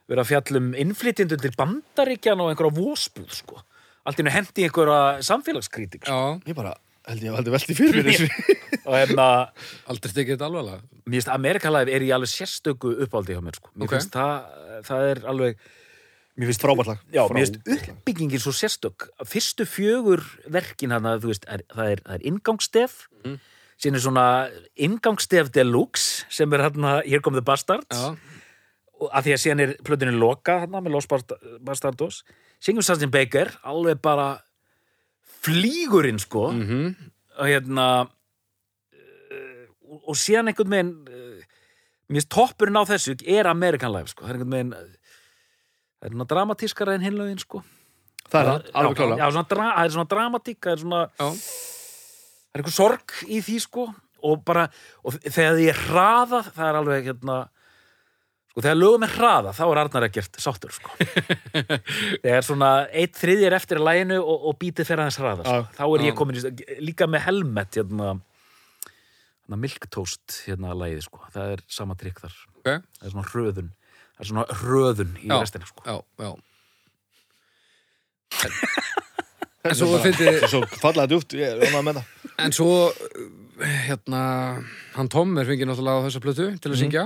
B: verið að fjallum innflytjendur til bandaríkjan og einhverja vósbúð sko. allt í hennu hendi einhverja samfélagskritik sko.
A: Já,
C: ég bara, held ég að valdi velti fyrir mér þessu
B: og hérna
A: aldrei tekið þetta alvarlega
B: Mér finnst America Live er í alveg sérstöku uppáldi hjá mér sko. Mér
A: Ok.
B: finnst það, það er alveg Mér finnst
C: Frábært lag.
B: Já, mér
C: Frábært
B: finnst uppbyggingin svo sérstök Fyrstu fjögur verkin hana, þú veist, er, það, er, það er inngangstef
A: Mhm.
B: mm. Sýnir svona inngangstef deluxe sem er hérna Here Come the Bastards
A: Já,
B: og að því að síðan er plötunni loka hérna með Los Bart- Bastardos Singjum Sastin Baker, alveg bara flýgurinn sko
A: mhm,
B: og hérna eh, og- og síðan einhvern veginn eh, mér finnst toppurinn á þessu er American Life sko, það er einhvern veginn eh, það er svona dramatískara en hinlaugin sko
C: það er það, alveg
B: Já,
C: klála
B: já, svona, dra- það er svona dramatík það er svona,
A: já,
B: það er einhver sorg í því sko og bara, og þegar því er hraða það er alveg hérna sko, þegar lögum er hraða, þá er Arnar ekkert sáttur sko þegar svona eitt þriðir eftir að læginu og, og bítið fer aðeins hraða sko. þá er
A: Já.
B: ég komin í, líka með helmet hérna, hérna milktoast hérna að lægið sko, það er sama trikk þar
A: ok
B: það er svona hröðun það er svona hröðun í
A: Já.
B: restina sko
A: Já, já En svo fyndi
C: svo fallaði djúpt, ég er ánað með það
A: En svo, uh, hérna, hann Tom er fengið náttúrulega á þessa plötu til að syngja,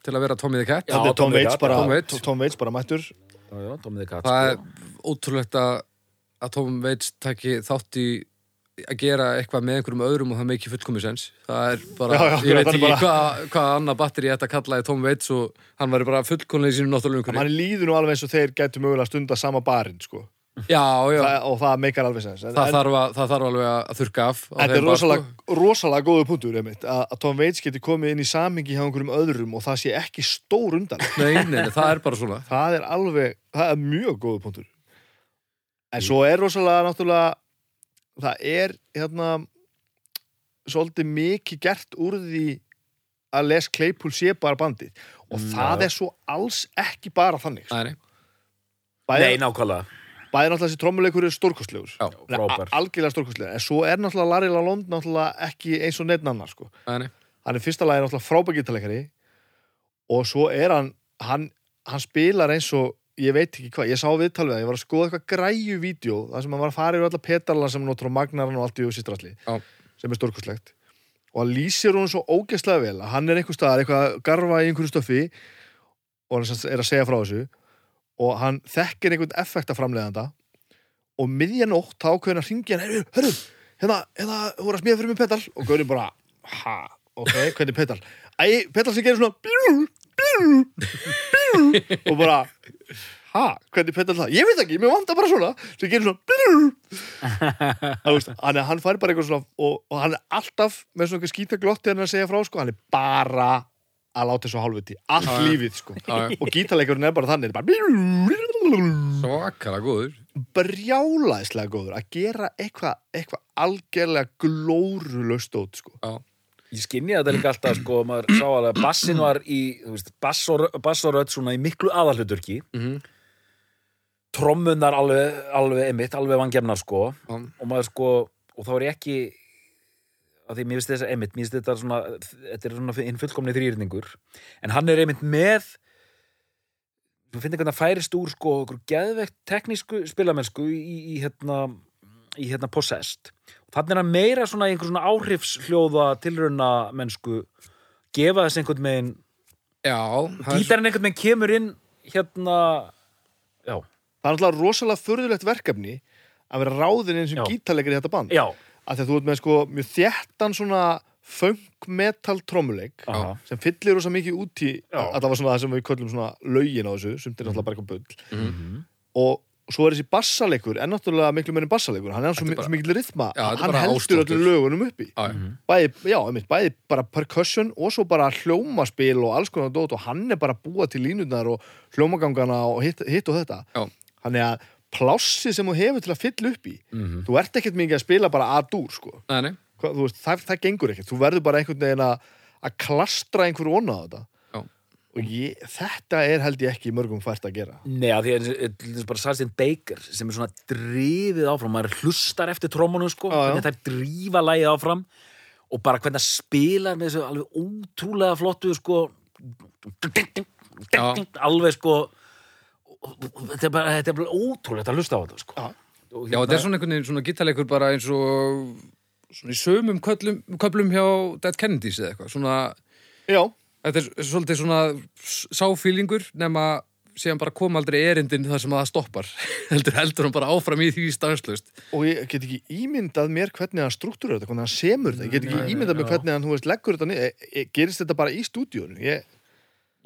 A: til að vera Tommy the Cat.
B: Já.
C: Þetta er Tom
B: Tom
C: Waits
B: Waits,
C: bara,
A: Tom Waits.
C: Tom Waits bara mættur
B: já, já, Tommy the Cat
A: Það er
B: sko.
A: ótrúlegt að, að Tom Waits taki þátt í að gera eitthvað með einhverjum öðrum og það með ekki fullkomis sens. Það er bara,
C: Já, já,
A: ég veit
C: það er
A: ekki
C: bara-
A: hvað, hvað annað batteri þetta kallaði Tom Waits og hann væri bara fullkomlega í sínum náttúrulega
C: og
A: umhverju.
C: hann líður nú alveg eins og þeir gætu mögulega stunda sama barinn sko.
A: Já, já, það,
C: það, og það meikar alveg sens en, en,
A: þarf að, það þarf alveg að þurka af. á þeim
C: þetta er
A: bara,
C: rosalega,
A: sko.
C: rosalega góðu punktur einmitt, að, að Tom Waits geti komið inn í samingi hjá einhverjum öðrum og það sé ekki stór undan
A: Nei, nei, nei, það er bara svona.
C: það er alveg, það er mjög góðu punktur en svo er rosalega náttúrulega það er hérna svolítið mikið gert úr því að Les Claypool sé bara bandið og það er svo alls ekki bara þannig sko.
A: Nei, nei,
C: bæði,
B: Nei, nákvæmlega,
C: bæði náttúrulega þessi trommuleikur er stórkostlegur
A: já,
C: Nei,
B: frábær
C: a- algjörlega stórkostlega, en svo er náttúrulega Larry Lalonde náttúrulega ekki eins og neitt annar sko.
A: nei, nei.
C: hann er fyrsta lagi náttúrulega frábægittalekari og svo er hann, hann hann spilar eins og ég veit ekki hvað, ég sá viðtal við það, ég var að skoða eitthvað græju vídeo, það sem hann var að fara yfir alla petarlan sem hann notur á magnaran og allt í sýstralli
A: Já.
C: sem er stórkostlegt og hann lýsir hún svo ógeðslega vel að hann er einhver staðar, eitthvað að garfa í einhverju stöfi og hann sem sagt er að segja frá þessu og hann þekkir einhvern effekta framleiðanda og miðja nótt þá ákveðin að hringja hann, herru, herru hérna, hérna, þú voru að smíða fyrir mig petal og Gaurinn bara, ha, ok, hvernig pedal? Æ, pedal sem gerir svona bjú, bjú, bjú, og bara, ha, hvernig pedal það? Ég veit ekki, mér vantar bara svona sem gerir svona bjú. Þú veist, Þannig að hann fær bara eitthvað svona og, og hann er alltaf með svona skýta glotti en að segja frá, sko, hann er bara að láta þessu hálfuti, allt
A: Já, já.
C: lífið sko.
A: Já, já.
C: og gítarleikurinn er bara þannig bara bjú,
A: Svakara góður.
C: brjálaðislega góður að gera eitthvað eitthva algjörlega glórulaust út sko.
A: Já.
B: Ég skinni þetta líka alltaf, sko, maður sá alveg að bassin var í, þú veist, bass og, rö- bass og rödd svona í miklu aðalhuturki.
A: Mhm.
B: Trommunar alveg, alveg emitt, alveg vangefnar, sko.
A: Já.
B: Og maður, sko, og þá er ég ekki, að því mér finnst þess að emitt, mér finnst þetta svona, þetta er svona hinn fullkomni þrýrningur. En hann er emitt með, þú finnir hvernig að færist úr, sko, okkur geðvegt teknísku spilamennsku í, í hérna, í hérna Possessed þannig er hann meira svona í einhver svona áhrifsljóða tilrauna mennsku gefa þess einhvern veginn
A: Já. það er-
B: gítarinn einhvern veginn kemur inn hérna já,
C: það er alltaf rosalega furðulegt verkefni að vera ráðin eins
B: Já.
C: og gítarleikar í þetta band
B: já,
C: af því að þú ert með sko mjög þéttan svona funk metal trommuleik
B: Aha.
C: sem fyllir rosa mikið út í
B: Já.
C: allavega svona það sem við köllum svona lögin á þessu sem þetta er alltaf bara eitthvað bull
B: Mhm.
C: og svo er þessi bassaleikur en náttúrulega miklu meirinn bassaleikur hann er
A: Þetta
C: svo,
A: er
C: mi-
A: bara-
C: svo mikil rytma
A: Já, þetta er
C: hann
A: bara
C: heldur
A: ásláttur.
C: öllum lögunum uppi Mhm.
A: Já, já.
C: bæði, já, einmitt, bæði bara percussion og svo bara hljómaspil og alls konar dót og hann er bara að búa til línurnar og hljómagangana og hitt, hitt og þetta
A: Já.
C: hann er að plássið sem þú hefur til að fylla upp í
B: Mhm.
C: þú ert ekkert mikið að spila bara að dúr sko.
A: Nei, nei.
C: Hva, þú veist, það, það gengur ekkert þú verður bara einhvern veginn að, að klastra einhver vona á þetta
A: Já.
C: og ég, þetta er held ég ekki í mörgum fært að gera
B: neða því að til dæmis bara Sarstein Baker sem er svona drifið áfram maður hlustar eftir trómunum sko
C: Já, já.
B: hvernig þær drífa lægið áfram og bara hvernig það spilar með þessu alveg ótrúlega flottu sko
A: Já.
B: alveg sko þetta er bara, þetta er bara ótrúlegt að hlusta á þetta sko
C: Já.
B: Og
A: Já, þetta er svona einhvern veginn svona gítarleikur bara eins og svona í sömum köllum, köplum hjá Dead Kennedys eða eitthvað. Svona,
C: já,
A: þetta er svolítið svona sáfílingur nema síðan bara kom aldrei erindin þar sem að það stoppar. heldur heldur hann bara áfram í því stanslust.
C: og ég get ekki ímyndað mér hvernig hann struktúrar þetta, hvernig hann semur þetta ég get ekki ímyndað mér hvernig hann, þú veist, leggur þetta niður. E- e- gerist þetta bara í stúdíunum ég,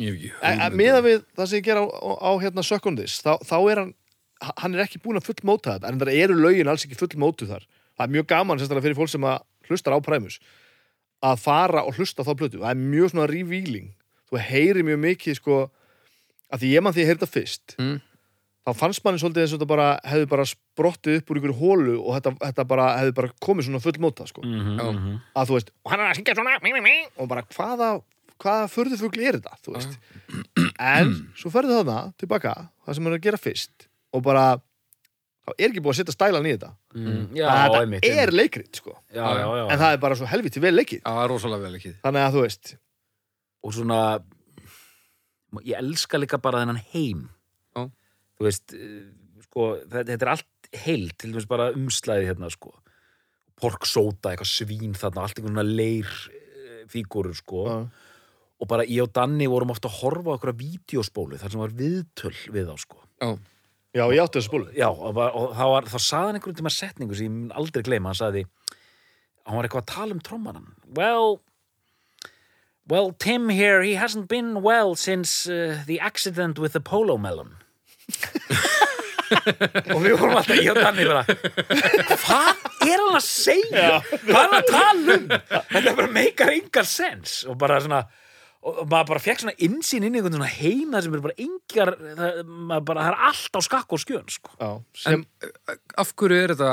A: Ég
C: En- en meða við það sem ég ger á, á, á hérna Sökkundis, þá, þá er hann hann er ekki búin að fullmóta þetta en það eru lögin alls ekki fullmótu þar það er mjög gaman sérstaklega fyrir fólk sem að hlustar á præmus að fara og hlusta þá plötu, það er mjög svona revealing þú heyri mjög mikið sko að því ég mann því ég heyrði þetta fyrst
A: Mm.
C: þá fannst manni svolítið eins og þetta bara hefði bara sprottið upp úr ykkur hólu og þetta, þetta bara hefði bara komið svona fullmóta sko
B: Mhm,
A: Já.
B: mhm.
C: að þú veist,
D: Og hann er að syngja svona, mí, mí, mí.
C: og bara hvaða hvaða förðufugl er þetta, þú veist en svo ferðu þarna tilbaka það sem hann er að gera fyrst og bara, þá er ekki búið að setja stælan í þetta
B: Mm, já,
C: Bara þetta
B: einmitt,
C: er
B: einmitt.
C: leikrit, sko
B: já, já, já.
C: en það er bara svo helviti vel leikið
A: Já, rosalega vel ekki.
C: þannig að þú veist,
B: og svona ég elska líka bara þennan heim
A: Já.
B: þú veist eh, sko, þetta, þetta er allt heilt til dæmis bara umslæði hérna sko porksóta, eitthvað svín þarna allt einhvern svona leir eh, fígúrur sko
C: Já.
B: og bara ég og Danni vorum ofta að horfa á okkur að vídeospólu þar sem var viðtöl við þá sko
A: Já,
C: já, ég átti þessu búlu
B: Já, og, var, og þá, var, þá saði hann einhvern tíma setningu sem ég mun aldrei gleyma, hann saði hann var eitthvað að tala um trommanan Well Well, Tim here, he hasn't been well since uh, the accident with the polo melon og við vorum alltaf ég og Danni bara hvað er hann að segja? hvað er hann að tala um? þetta bara meikar engar sens og bara svona og og maður bara fekk svona innsýn inn í einhvern svona heima sem er bara engar það, maður bara, það er allt á skakk og skjön sko.
C: já, sem,
A: e, af hverju er þetta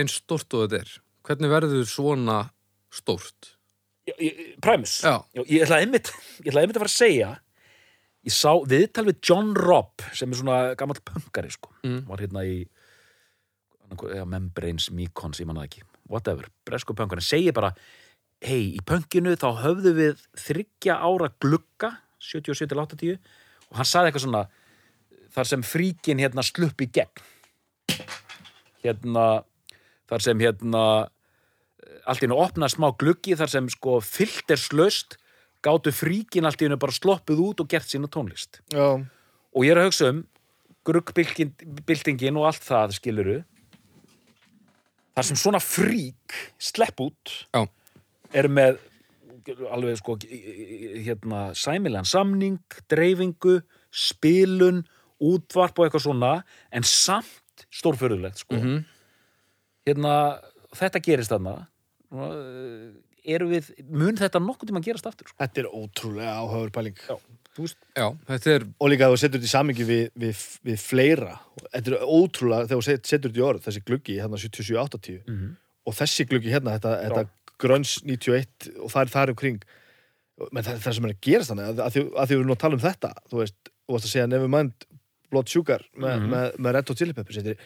A: eins stórt og þetta er? Hvernig verður svona stórt?
B: Ég- ég- Primus
A: Já.
B: ég, ætlaði einmitt, ég ætlaði einmitt að fara að segja ég sá viðtal við John Robb sem er svona gamall punkari sko.
A: Mm.
B: var hérna í ja, Membranes, Mekons, ég manna ekki whatever, bresku punkarinn segir bara hei, í punkinu þá höfðu við þryggja ára glugga 77-80 og hann saði eitthvað svona þar sem fríkin hérna slupp í gegn hérna þar sem hérna allt í hennu opnað smá gluggi þar sem sko filterslaust gátu fríkin allt í hennu bara sloppuð út og gert sína tónlist
C: já,
B: og ég er að hugsa um gruggbyltingin og allt það skiluru þar sem svona frík slepp út
A: Já.
B: er með alveg sko hérna, sæmilan samning, dreifingu spilun, útvarp og eitthvað svona, en samt stórförðulegt sko
A: Mhm.
B: hérna, þetta gerist þarna Nú, eh, erum við mun þetta nokkuð tíma að gerast aftur sko?
C: Þetta er ótrúlega áhauður pæling.
B: Þú veist,
A: Já, þetta er
C: Og líka að þú setur þetta í samingi við, við, við fleira. Þetta er ótrúlega, þegar þú set- setur þetta í orð, þessi gluggi, hérna 77-80
B: Mhm.
C: og þessi gluggi hérna, þetta, þetta gröns 91 og það er þar um kring. Menn það, það sem er að gerast þannig, að, að, því- að því við erum nú að tala um þetta, þú veist, þú varst að segja Nevermind Blood Sugar með,
B: Mhm.
C: með, með Red Hot Chili Peppers, þetta er,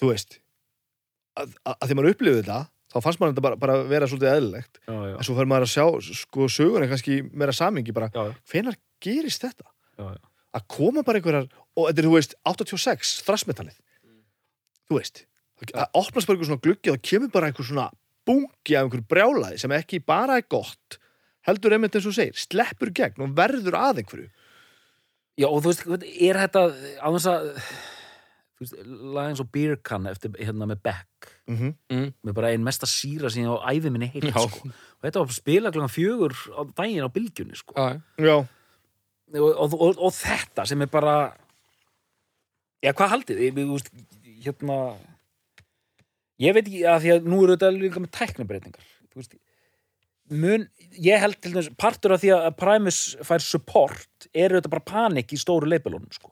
C: þú veist, að, að, að því maður upplifði þetta, þá fannst maður þetta bara, bara vera svolítið eðlilegt.
B: já, já,
C: En svo fer maður að sjá, sko, söguna kannski meira samingi bara,
B: já, já,
C: hvenar gerist þetta?
B: já, já.
C: að koma bara einhverjar og þetta er, þú veist, 86, þrassmetalið þú veist það það opnast bara einhver svona gluggi og það kemur bara einhver svona bungi af einhver brjálaði sem ekki bara er gott heldur einmitt eins og þú segir, sleppur í gegn og verður að einhverju
B: já, og þú veist, er þetta á þess að þú veist, laga eins og beer can eftir hérna með Beck
C: mm
B: með bara einn mesta síra síðan á ævi minni heilt
A: Já.
B: sko. og þetta var að spila klokkan fjögur á daginn á bylgjunni sko.
A: já,
C: Já,
B: og, og, og, og þetta sem er bara já hvað haldið ég, ég, úst, hérna ég veit ekki að því að nú eru þetta líka með tæknabreitingar þú veist mun, ég held til þess partur af því að Primus fær support eru þetta bara panik í stóru leipilónum sko.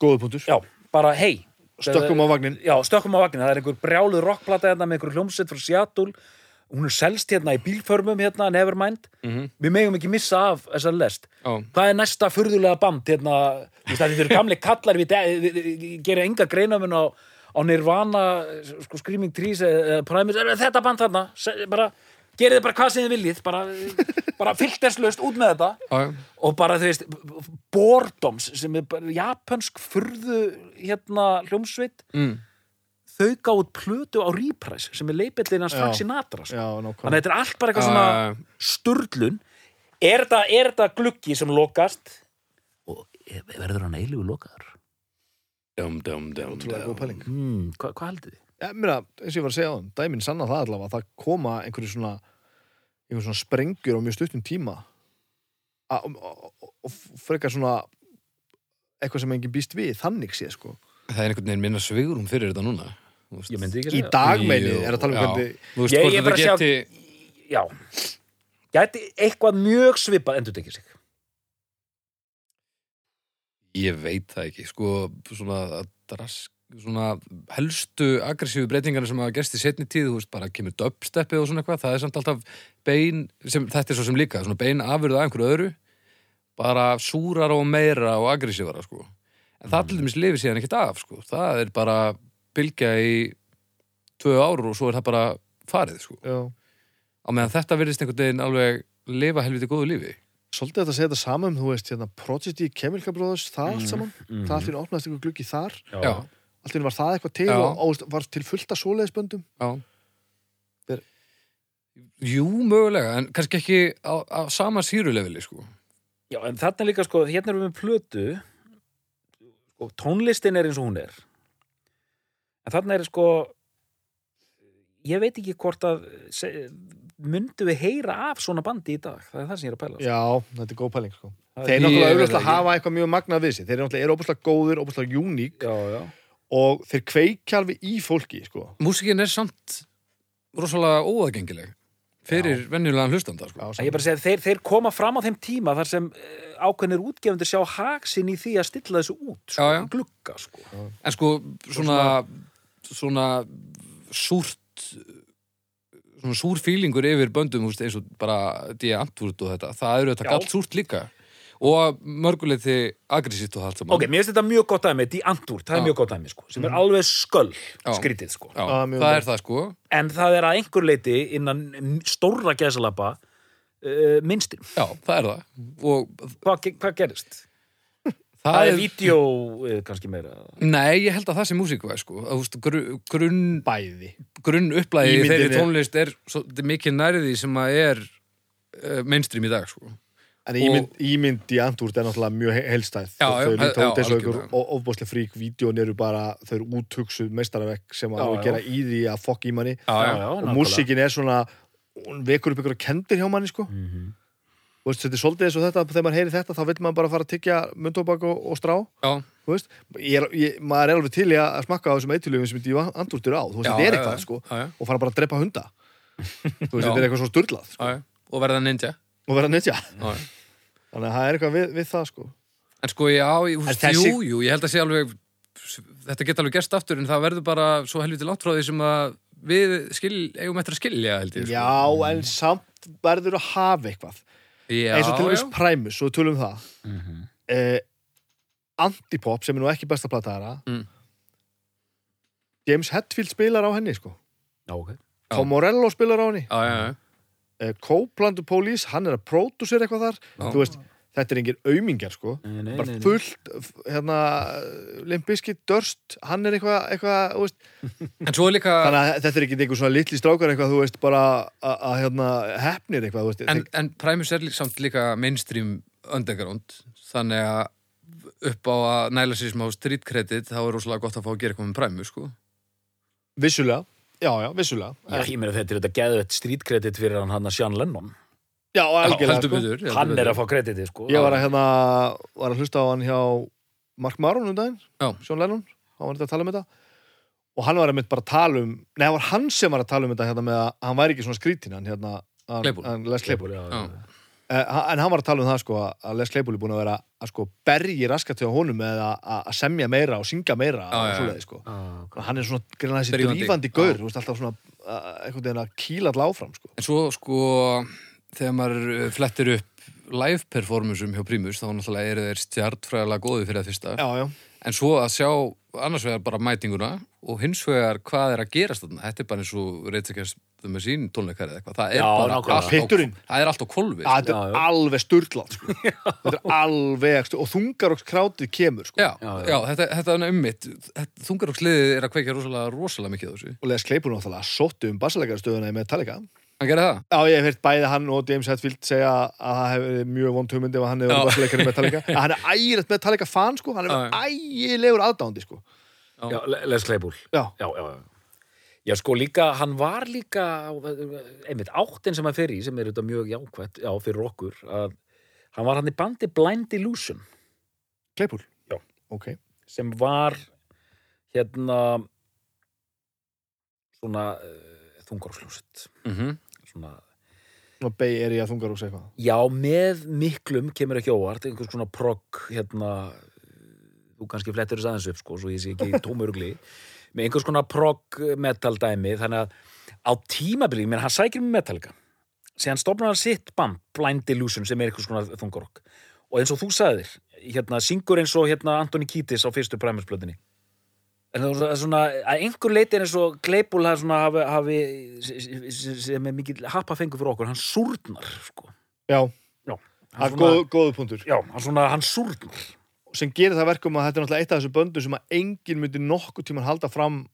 C: góðu punktur
B: já, bara hei
C: stökkum á vagnin
B: já, stökkum á vagnin, það er einhver brjáluð rockplata hérna með einhver hljómsett frá Seattle hún er selst hérna í bílförmum hérna, Nevermind,
A: Mhm.
B: við megum ekki missa af þessar lest,
A: já,
B: hvað er næsta furðulega band hérna, þú veist að þetta eru gamli kallar við, de- við, við, við gerum enga greinamun á, á Nirvana sko, Screaming Trees eða Primus er þetta band þarna, Se- bara gerið þið bara hvað sem þið viljið, bara, bara fylgteslaust út með þetta
A: já, já.
B: og bara þú veist Bordoms sem er bara japansk furðu hérna hljómsveit
A: Mm.
B: þau gátt plötu á Reprise sem er leipillin hans
C: Já.
B: Frank Sinatra sko.
C: Já,
B: þannig að
C: nákvæmlega
B: þetta er allt bara eitthvað
A: Já,
B: svona
A: já, já.
B: sturlun er þetta, er þetta gluggi sem lokast og er- verður hann eilugu lokaður
A: Dum, dum, dum,
C: Ótrúlega góð pæling
B: hmm, hva, hvað haldið þið?
C: Já, mér að, eins og ég var að segja á þann, dæminn sanna það allavega að það koma einhverju svona einhverju svona sprengjur á mjög stuttum tíma A- og- og og- og frekar svona eitthvað sem enginn býst við, þannig sé sko
A: Það er einhvern veginn minna svigurum fyrir þetta núna Þú veist.
B: ég myndi ekki að
C: í
B: segja
C: dag meini,
A: Jú,
C: er að tala um
A: já.
C: hvernig
A: Þú veist
B: Ég-
A: hvort
B: ég bara
A: þetta
B: sjá-
A: geti
B: já, gæti eitthvað mjög svipað endur tekið sig
A: Ég veit það ekki, sko svona, drask, svona helstu aggressífu breytingar sem hafa gerst í setni tíð, þú veist, bara kemur dubsteppi og svona eitthvað, það er samt alltaf bein sem, þetta er svo sem líka, svona bein afurða af einhverju öðru, bara súrar og meira og aggressívara, sko en það
C: Mm.
A: til dæmis lifir síðan ekkert af, sko það er bara bylgja í tvö ár og svo er það bara farið, sko,
C: Já.
A: á meðan þetta virðist einhvern veginn alveg lifa helviti góðu lífi
C: svolítið þetta að segja þetta sama um, þú veist, hérna Prodigy, Chemical Brothers, það allt saman
B: mm.
C: það allir opnaðist einhver gluggi þar
A: Já,
C: allt í einu var það eitthvað til
A: Já.
C: og, og veist, var til fullta svoleiðisböndum
A: Já
C: Þeir-
A: Jú, mögulega, en kannski ekki á, á sama sírulefili, sko
B: Já, en þarna líka sko, hérna erum við með plötu og tónlistin er eins og hún er en þarna er sko ég veit ekki hvort að se- myndu við heyra af svona bandi í dag, það er það sem ég er að pæla sko.
C: Já, þetta er góð pæling sko.
B: Það
C: Þeir
A: Ég
C: náttúrulega
A: veit
C: auðvitað
A: það ekki.
C: hafa eitthvað mjög magnað við sig þeir náttúrulega eru óbúslega góðir, óbúslega uník
B: Já, já,
C: og þeir kveikja alveg í fólki sko.
A: Músikin er samt rosalega óaðgengileg fyrir venjulegan hlustanda, sko
C: Já,
B: En ég bara segi að þeir, þeir koma fram á þeim tíma þar sem eh, ákveðnir útgefundur sjá haksinn í því að stilla þessu út sko,
A: Já, já.
B: glugga sko
A: En sko, svona svona súrt svona súr fílingur yfir böndum, þú veist, eins og bara D.A. Antwoord og þetta, það eru
B: Já.
A: þetta galt súrt líka og mörguleiti agressítt og það allt saman
B: Ok, mér finnst þetta mjög gott dæmi, Dí Antúr, það
A: Já.
B: er
A: Mhm.
B: mjög gott dæmi sko, sem er alveg sköll
A: Já.
B: skrítið sko
A: Já,
C: Ah, mjög
A: það
C: vel.
A: er það, sko
B: en það er að einhver leiti innan stórra gæsalappa uh, minnstir.
A: Já, það er það og það,
B: Hvað, ge- hvað gerist? Það er
A: er
B: vídeo uh, kannski meira.
A: Nei, ég held að það sé músikvæð sko. Að, þú veist, gru- grunn,
C: bæði
A: grunn upplæði í
C: Ímyndinni.
A: þeirri tónlist er svo, mikið nærði sem að er uh, mainstream í dag sko. Og-
C: En ímynd, ímynd í Andúrt er náttúrulega mjög he- heilstæð
A: Já,
C: Þau-
A: já,
C: Þau líta
A: já,
C: út eins og ykkur
A: algjörlega.
C: og ofbáslega frík Vídeón eru bara, þau eru úthugsuð meistarverk sem
B: Já,
C: að já,
B: já.
C: gera í því að fokk í manni
A: já,
B: já,
C: og
B: nákvæmlega.
C: músikin er svona hún vekur upp ykkur að kendir hjá manni sko
B: Mm
C: Þú veist, þetta er svolítið eins og þetta, þegar maður heyri þetta þá vil maður bara fara að tyggja mundtóbak og, og strá
A: já,
C: þú veist, ég er, ég, maður er alveg til í að að smakka á þessum eitilöfum sem ég var andurtur á þú veist,
A: Já,
C: þetta er
A: já,
C: eitthvað
A: já,
C: sko
A: já, já.
C: og fara bara að drepa hunda þú veist,
A: Já.
C: þetta er eitthvað svo sturlað sko,
A: já, já. og verða ninja
C: og vera ninja
A: já, já.
C: þannig að það er eitthvað við, við það sko
A: en sko já, ég,
C: En
A: húst,
C: þessi-
A: jú, jú, ég held að sé alveg þetta geta alveg gerst aftur en það verður bara svo helviti langt frá því sem að við skil, eigum eftir að skilja held ég sko.
C: já, en samt verður að hafa eitthvað
A: já,
C: eins og til
A: já. Mhm.
C: dæmis Primus, og við tölum um það
B: -hmm.
C: eh, Antipop, sem er nú ekki besta plata þeirra
A: Mm.
C: James Hetfield spilar á henni sko
B: Já, ok.
A: Já.
C: Tom Morello spilar á henni
A: já, já, já.
C: eh, Copeland og Police, hann er að pródusera eitthvað þar
A: Já.
C: þú veist, þetta er engin aumingjar sko
B: Nei, nei,
C: bara fullt f- hérna, Limbiski, Dörst, hann er eitthvað eitthva, veist,
A: en svo er líka
C: þannig að þetta er ekki einhver svona litli strákar eitthvað, þú veist, bara að- að hérna, hefnir eitthvað, þú veist
A: en, en Primus er lí- samt líka mainstream underground þannig að upp á að næla sér smá street credit þá er rosalega gott að fá að gera eitthvað með Primus sko.
C: vissulega, já, já, vissulega
B: Já, ég meina þetta er þetta geðvett strýtkredit fyrir hann hann að Sean Lennon.
C: já algjörlega,
A: heldur
C: sko
A: betur heldur
B: Hann er
A: betur.
B: að fá krediti, sko.
C: ég var að, hérna, var að hlusta á hann hjá Mark Maron um daginn,
A: Já.
C: Sjón Lennon hann var þetta að tala um þetta og hann var einmitt bara að tala um nei, það var hann sem var að tala um þetta hérna, með að hann væri ekki svona skrítin hann, hérna, hann,
A: Claypool.
C: hann Les Claypool
B: Kleipur, já.
A: Já.
B: já.
C: Eh, ha- en hann var að tala um það sko að- að Les Claypool er búin að vera að sko bergi raskat hjá honum með að, að að semja meira og syngja meira
A: Já,
C: og
A: já,
C: svoleiði sko
B: Ah, ok.
C: og hann er svona greinlega þessi
A: Drífandi.
C: drífandi gaur þú veist alltaf svona uh, einhvern veginn að kýla alltaf áfram sko
A: en svo sko þegar maður eh, flettir upp live performanceum hjá Primus þá náttúrulega eru þeir stjartfræðilega góði fyrir að fyrsta
C: já, já,
A: en svo að sjá annars vegar bara mætinguna og hins vegar hvað er að gerast þarna þetta er bara eins og reytsakast með sín tónleikar eða eitthvað, það er
B: Já,
A: bara
B: nákvæmlega.
A: allt á-
C: Pitturinn.
A: það er allt á kolvi
C: að þetta
B: Já,
C: er
B: já.
C: alveg sturglað sko þetta er alveg stu- og þungarokks krátið kemur sko
A: Já, já,
B: Já, já.
A: þetta, þetta er ummitt Þungaróksliðið er að kveikja rosalega, rosalega mikið á þessu
C: og Les Claypool náttúrulega sótti um bassalegarastöðuna í Metallica
A: Hann gerir það?
C: Já, ég hef heyrt bæði hann og James Hetfield segja að það hefur verið mjög vond hugmyndi ef hann hefur
A: Já.
C: verið bassaleikari Metallica En hann er ægilegt Metallica fan sko, hann
A: Já,
C: er ægilegur aðdándi sko
B: Já, Le- Les Kleipur.
C: Já,
B: Já, já, já. Já, sko líka, hann var líka, einmitt, áttin sem hann fer í, sem er þetta mjög jákvætt, já, fyrir okkur, að hann var hann í bandi Blind Illusion,
C: Claypool?
B: Já.
C: Ok.
B: sem var, hérna, svona, uh, þungarslúsitt,
A: Mm
B: svona,
C: Nú Bay Area þungarús eitthvað.
B: Já, með miklum kemur ekki óvart, einhvers svona progg, hérna, þú kannski flettir þess aðeins upp, sko, svo ég sé ekki tómurugli, með einhvers konar progg metal dæmi, þannig að á tímabili, menn hann sækir með metalika, síðan stopnar hann sitt band, Blind Illusion, sem er einhvers konar þungarokk. Og eins og þú sagðir, hérna, syngur eins og hérna Antoni Kítis á fyrstu præmisblöðinni. En það er svona, að einhver leiti er eins og Gleipúl hafi, hafi, hafi, sem er mikið hapa fengur fyrir okkur, hann súrnar, sko.
C: Já,
B: Já,
C: það er
B: svona-
C: góð, góðu punktur.
B: já, hann svona, hann súrnar
C: Sem gerir það verkum að þetta er náttúrulega eitt af þessu böndum sem að enginn myndi nokkuð tíman halda fram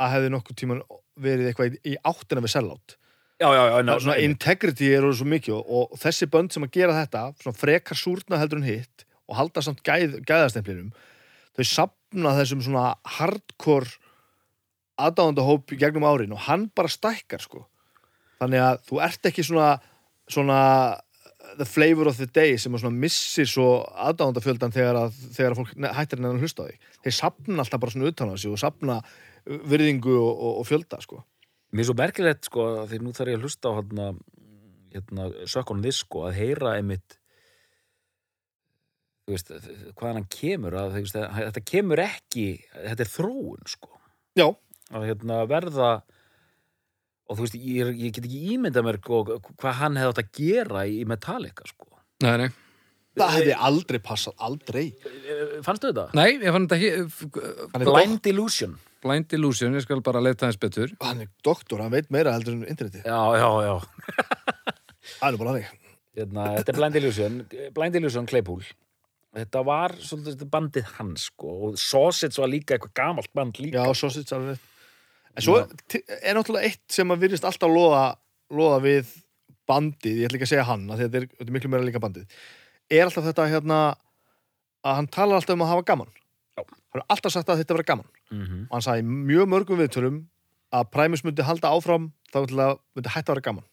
C: að hefði nokkuð tíman verið eitthvað í, í áttina við sellátt.
B: Já, já, já,
C: Það er svona integrity er orðið svo mikið og, og þessi bönd sem að gera þetta, svona frekar súrna heldur en hitt og halda samt gæð, gæðastemplinum, þau sapna þessum svona hardcore aðdáðandahóp gegnum árin og hann bara stækkar sko. Þannig að þú ert ekki svona, svona uh, the flavor of the day sem að svona missir svo aðdáðandafjöldan þegar að, þegar að fólk ne- hættir henni að hlusta á því. Þeir sapna alltaf bara svona utan á sig og sapna virðingu og, og, og fjölda sko.
B: Mér er svo merkilegt, sko, að því nú þarf ég að hlusta á hérna, hérna, Suck on this, sko, að heyra einmitt þú veist, hvaðan hann kemur að, þú veist, að, þetta kemur ekki þetta er þróun, sko
C: Já,
B: að hérna verða og þú veist, ég, er- ég get ekki ímyndað mér sko, hvað hann hefði átt að gera í Metallica, sko
A: Nei, nei
C: það hefði aldrei passað, aldrei.
B: Fannstu þetta?
A: Nei, ég fann þetta ekki eh,
C: Hann er
B: Blind Illusion
A: Blind Illusion, ég skal bara leta hans betur
C: hann er doktor, hann veit meira heldur en internetið.
B: Já, já, já
C: Það er nú bara þannig.
B: hérna, þetta er Blind Illusion Blind Illusion Claypool þetta var svolítið þetta bandið hans sko, og Sausage var líka eitthvað gamalt band
C: Já,
B: líka
C: sausage alveg rétt. En svo ti- er náttúrulega eitt sem að virðist alltaf loða, loða við bandið, ég ætla ekki að segja hann, af því að þetta er, þetta er miklu meira líka bandið, er alltaf þetta hérna, að hann talar alltaf um að hafa gaman.
B: Já.
C: Hann er alltaf sagt að þetta vera gaman.
B: mm -hmm.
C: Og hann sagði í mjög mörgum viðtölum að Primus myndi halda áfram þá til að myndi hætta að vera gaman.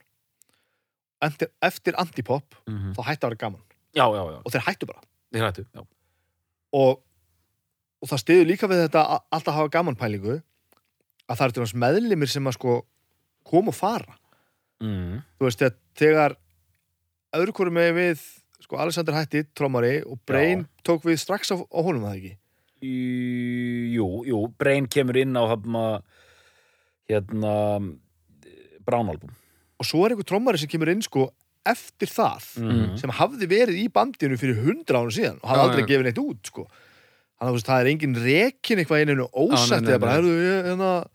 C: eftir, eftir antipop
B: Mhm.
C: þá hætti að vera gaman
B: Já, já, já,
C: og þeir hættu bara
B: þeir hættu já.
C: og, og það stiður líka við þetta a- alltaf hafa gaman pælingu að það eru til hans meðlimir sem að sko kom og fara
B: Mm.
C: þú veist, þegar, þegar öðru hverju með við sko, Alexander hætti, trommari og Brain tók við strax á, á honum að það ekki
B: Í- Jú, jú, Brain kemur inn á hafna, hérna Brown-album
C: og svo er einhver trommari sem kemur inn sko eftir það
B: Mhm.
C: sem hafði verið í bandinu fyrir hundra ánum síðan og hafði
A: Já,
C: aldrei
A: já.
C: gefið neitt út sko þannig að þú veist, það er engin rekin eitthvað einu
A: Já, nei,
C: ósætt
A: nei,
C: eða bara,
A: nei.
C: herðu, ég hérna,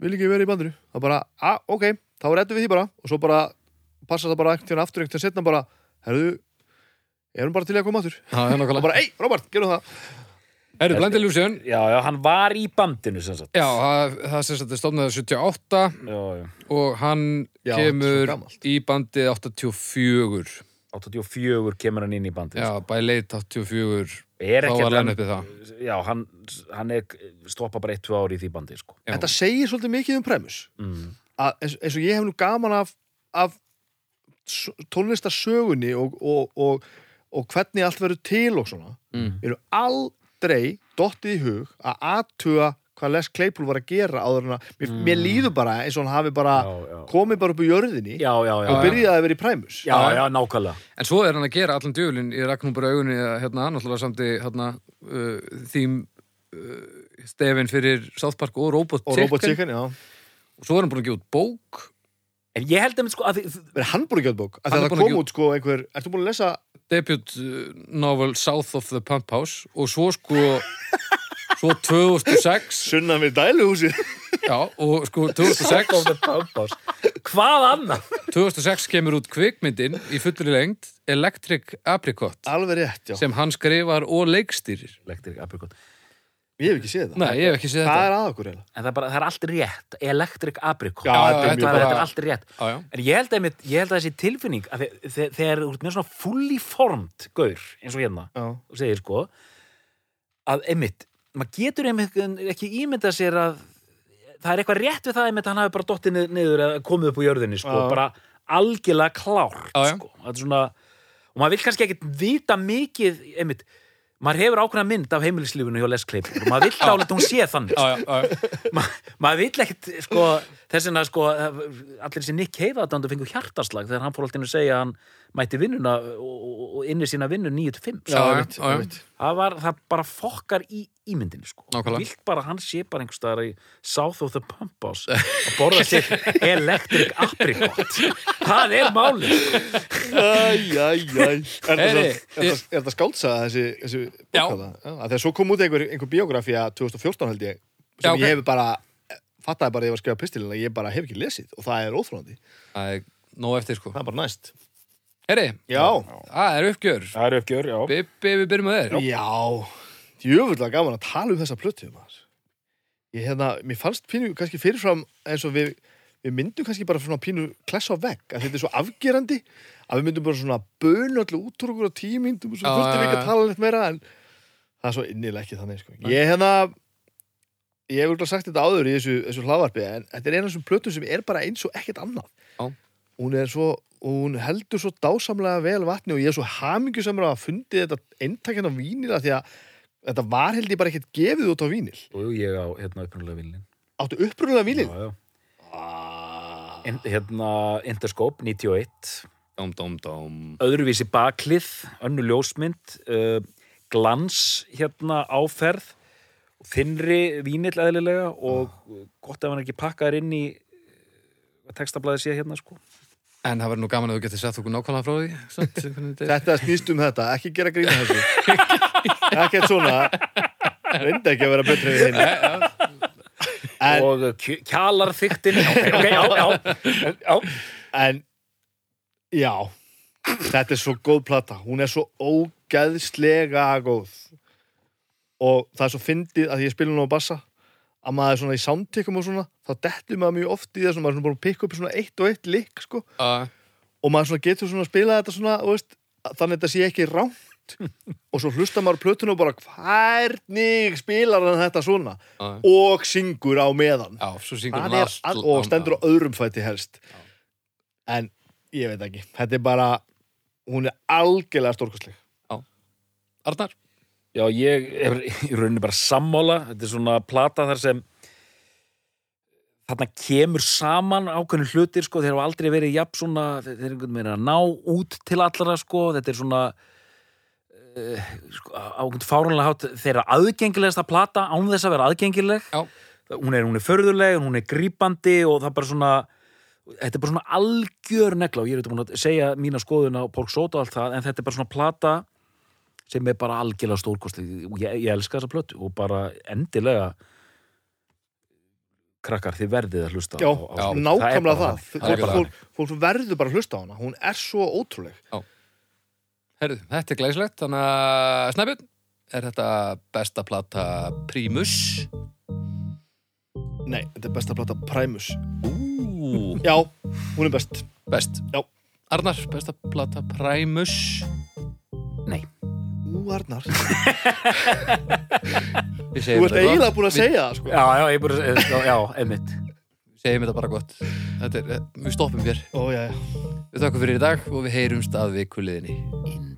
C: vil ekki vera í bandinu það bara, a, ok, þá reddum við því bara og svo bara, passa það bara einhvern tíðan aftur einhvern tíðan setna bara, herðu erum bara til í að koma aftur
A: það er
C: og
A: nokkulega
C: bara, ei, Robert, gerum það
A: Herru, Blind Illusion
B: Já, já, hann var í bandinu sem sagt
A: Já, það, það sem sagt er stofnaður 78
B: já, já.
A: og hann
C: Já, þetta er svo
A: kemur
C: gamalt.
A: í bandið 84
B: 84 kemur hann inn í bandinu
A: Já, by late 84
B: Er
A: Þá
B: ekkert
A: var hann
B: hann-
A: uppið það.
B: Já, hann, hann er, stoppa bara 1-2 ári í því bandi sko.
A: Já.
C: þetta segir svolítið mikið um premus
B: mm.
C: að eins, eins og ég hef nú gaman af, af s- tónlistarsögunni og, og, og, og hvernig allt verður til og svona
A: Mm.
C: eru aldrei dottið í hug að aðtuga hvað Les Claypool var að gera áður en að mér,
A: Mm.
C: mér líður bara eins og hann hafi bara
B: já, já.
C: komið bara upp í jörðinni
B: já, já, já
C: og
B: já.
C: byrjaði að vera í præmus
B: Já, já, nákvæmlega
A: En svo er hann að gera allan djöflin í Ragnúmbara augunni að hérna, náttúrulega samt í hérna, uh, þým uh, stefin fyrir South Park og Robot
C: og Robot Chicken, já
A: Og svo er hann búin að gefa út bók
B: En ég held að, sko, að því,
C: er hann búin að geta bók? Af
A: Hann er
C: því að það
A: búinn að
C: kom
A: gefa-
C: út sko einhver, ertu búin að lesa
A: debut uh, novel South of the Pump House og svo sko svo 2006
C: sunnan við dæluhúsið?
A: já, og sko 2006
B: Pampás Hvað annað?
A: 2006 kemur út kvikmyndin í fullri lengd Electric Apricot
C: Alveg rétt, já.
A: sem hann skrifar og leikstýrir
B: Elektrik aprikot
C: Ég hef ekki séð það.
A: Nei, ég hef ekki séð
C: Hvað
A: þetta
C: er að okkur eiginlega?
B: En það er, bara, það er allt rétt, elektrik aprikot
C: Já, þetta er
A: mjög
B: þetta, er,
A: bara-
B: þetta er allt rétt
A: Já, já.
B: En ég held að, einmitt- ég held að þessi tilfinning að þe- þe- þegar þú ert með svona fully formed gaur, eins og hérna
C: Já.
B: og segir sko að einmitt, maður getur einmitt ekki ímyndað sér að það er eitthvað rétt við það einmitt að hann hafi bara dottið ni- niður eða komið upp úr jörðinni sko,
C: Já.
B: bara algjörlega klárt
A: Já, já.
B: sko, þetta er svona og maður vil kannski ekkit vita mikið einmitt, maður hefur ákveðna mynd af heimilislífinu hjá Les Claypool og maður vil dálítið að hún sé þannig sko.
A: Já, já, já,
B: Ma, maður vil ekkit sko, þess vegna sko, allir þessi Nick Cave aðdándu fengu hjartaslag þegar hann fór alltaf inn að segja að hann mætti vinnuna og, og, og inni sína vinnu 9-5
A: Já, já,
C: einmitt,
A: já, já.
C: einmitt.
B: það, var, það bara fokkar í ímyndinni sko.
A: Nákvæmlega.
B: vilt bara að hann sé bara einhvers staðar í South of the Pump House að borða sér electric apricot það er sko. máli
C: Æj, æj, æj. Er það
A: Heyri,
C: svo- er
A: ég-
C: það- er það skáldsaga þessi, þessi
A: Já.
C: bókala? Já. af því að svo kom út einhver, einhver biografía 2014 held ég, sem
A: Já, ok.
C: ég hef bara, fattaði bara að ég var að skrifa pistilina, ég bara hef ekki lesið og það er óþrólandi.
A: það er nóg eftir sko
C: Það er bara næst.
A: Herri,
C: Já.
A: það er uppgjör
B: það er uppgjör, já
A: Bibbi, við byrjum að þér
C: Já. Jöfnvöldlega gaman að tala um þessa plötu, maður. Ég hérna, mér fannst pínu kannski fyrirfram eins og við, við myndum kannski bara svona pínu klessa á vegg, að þetta er svo afgerandi að við myndum bara svona bönu allir út úr okkur á tíu myndum og svo
A: Já,
C: þurftum
A: já,
C: við ekki
A: já.
C: að tala neitt meira en það er svo innilega ekki þannig sko. ég hérna ég hef örgulega sagt þetta áður í þessu, þessu hlaðvarpi en þetta er eina af þessum plötum sem er bara eins og ekkert annað
A: Já.
C: hún er svo og hún heldur svo dásamlega vel vatni og ég er svo hamingjusamur að hafa fundið þetta eintakinn á vínil af því að þetta var held ég bara ekkert gefið út á vínil
B: og jú, ég á hérna upprunalega villin
C: áttu upprunnulega vínil
B: já, já.
C: Ah.
B: In, hérna Interscope 91
A: Dóm, dóm, dóm
B: öðruvísi baklið, önnu ljósmynd, uh, glans hérna áferð, þinnri vínill eðlilega og gott ef hann er ekki pakkaður inn í að textablaði sé hérna sko.
A: En það verður nú gaman að þú getur sett okkur nákvæmlega frá því samt, hvernig þetta er.
C: Þetta snýst um þetta, ekki gera grína þessu Ekkert svona Reyndi ekki að vera betri við hinn en,
B: og kj- kjalarþyktin, ok, ok, já, já, já,
C: en Já Þetta er svo góð plata Hún er svo ógeðslega góð Og það er svo fyndið að ég spila hún á bassa að maður er svona í soundtekum og svona þá dettur maður mjög oft í það svona maður er svona búin að pikka upp svona eitt og eitt lik sko
A: Já,
C: og maður svona getur svona að spila þetta svona þú veist, þannig að þetta sé ekki rámt og svo hlusta maður á plötuna og bara hvernig spilar hann þetta svona
A: já,
C: og syngur á meðan
A: ah. já, svo syngur um
C: Það
A: hún
C: er,
A: allt
C: og stendur á öðrum fæti helst en ég veit ekki, þetta er bara hún er algjörlega stórkostleg
A: Arnar?
B: Já, ég er í rauninni bara sammála. Þetta er svona plata þar sem þarna kemur saman ákveðnum hlutir, sko. Þeir hafa aldrei verið jafn svona, þeir eru einhvern veginn að ná út til allra, sko. Þetta er svona uh, sko, ákveðn fáránlega hátt. Þeir eru aðgengilegasta plata án þess að vera aðgengileg.
A: Já.
B: Hún er, hún er förðuleg, hún er grípandi og það er bara svona þetta er bara svona algjör negla og ég er eitthvað búin að segja mína skoðun á Pork Soto og allt það, en þetta er bara svona plata sem er bara algjörlega stórkostið og ég, ég elska þessa plötu og bara endilega krakkar þið verðið að hlusta
C: Já,
B: á, á, á,
C: nákvæmlega það,
A: Það er
C: Fólk,
A: bara
C: fólk, fólk verður bara að hlusta á hana hún er svo ótrúleg
A: Herðu, þetta er glæslegt, þannig að Snæbjörn, er þetta besta plata Primus?
C: nei, þetta er besta plata Primus
A: Ú,
C: já, hún er best
A: best.
C: Já.
A: Arnar, besta plata Primus?
B: Nei,
C: Ú, Arnar,
A: Við
C: þú
A: segjum
C: ert eiginlega búin að segja það sko.
B: já, já, ég bara já, já, einmitt
A: Við segjum þetta bara gott. Þetta er, eh, við stoppum hér.
C: ó, já, já
A: Við þakkum fyrir í dag og við heyrumst að vikuliðinni.
B: inn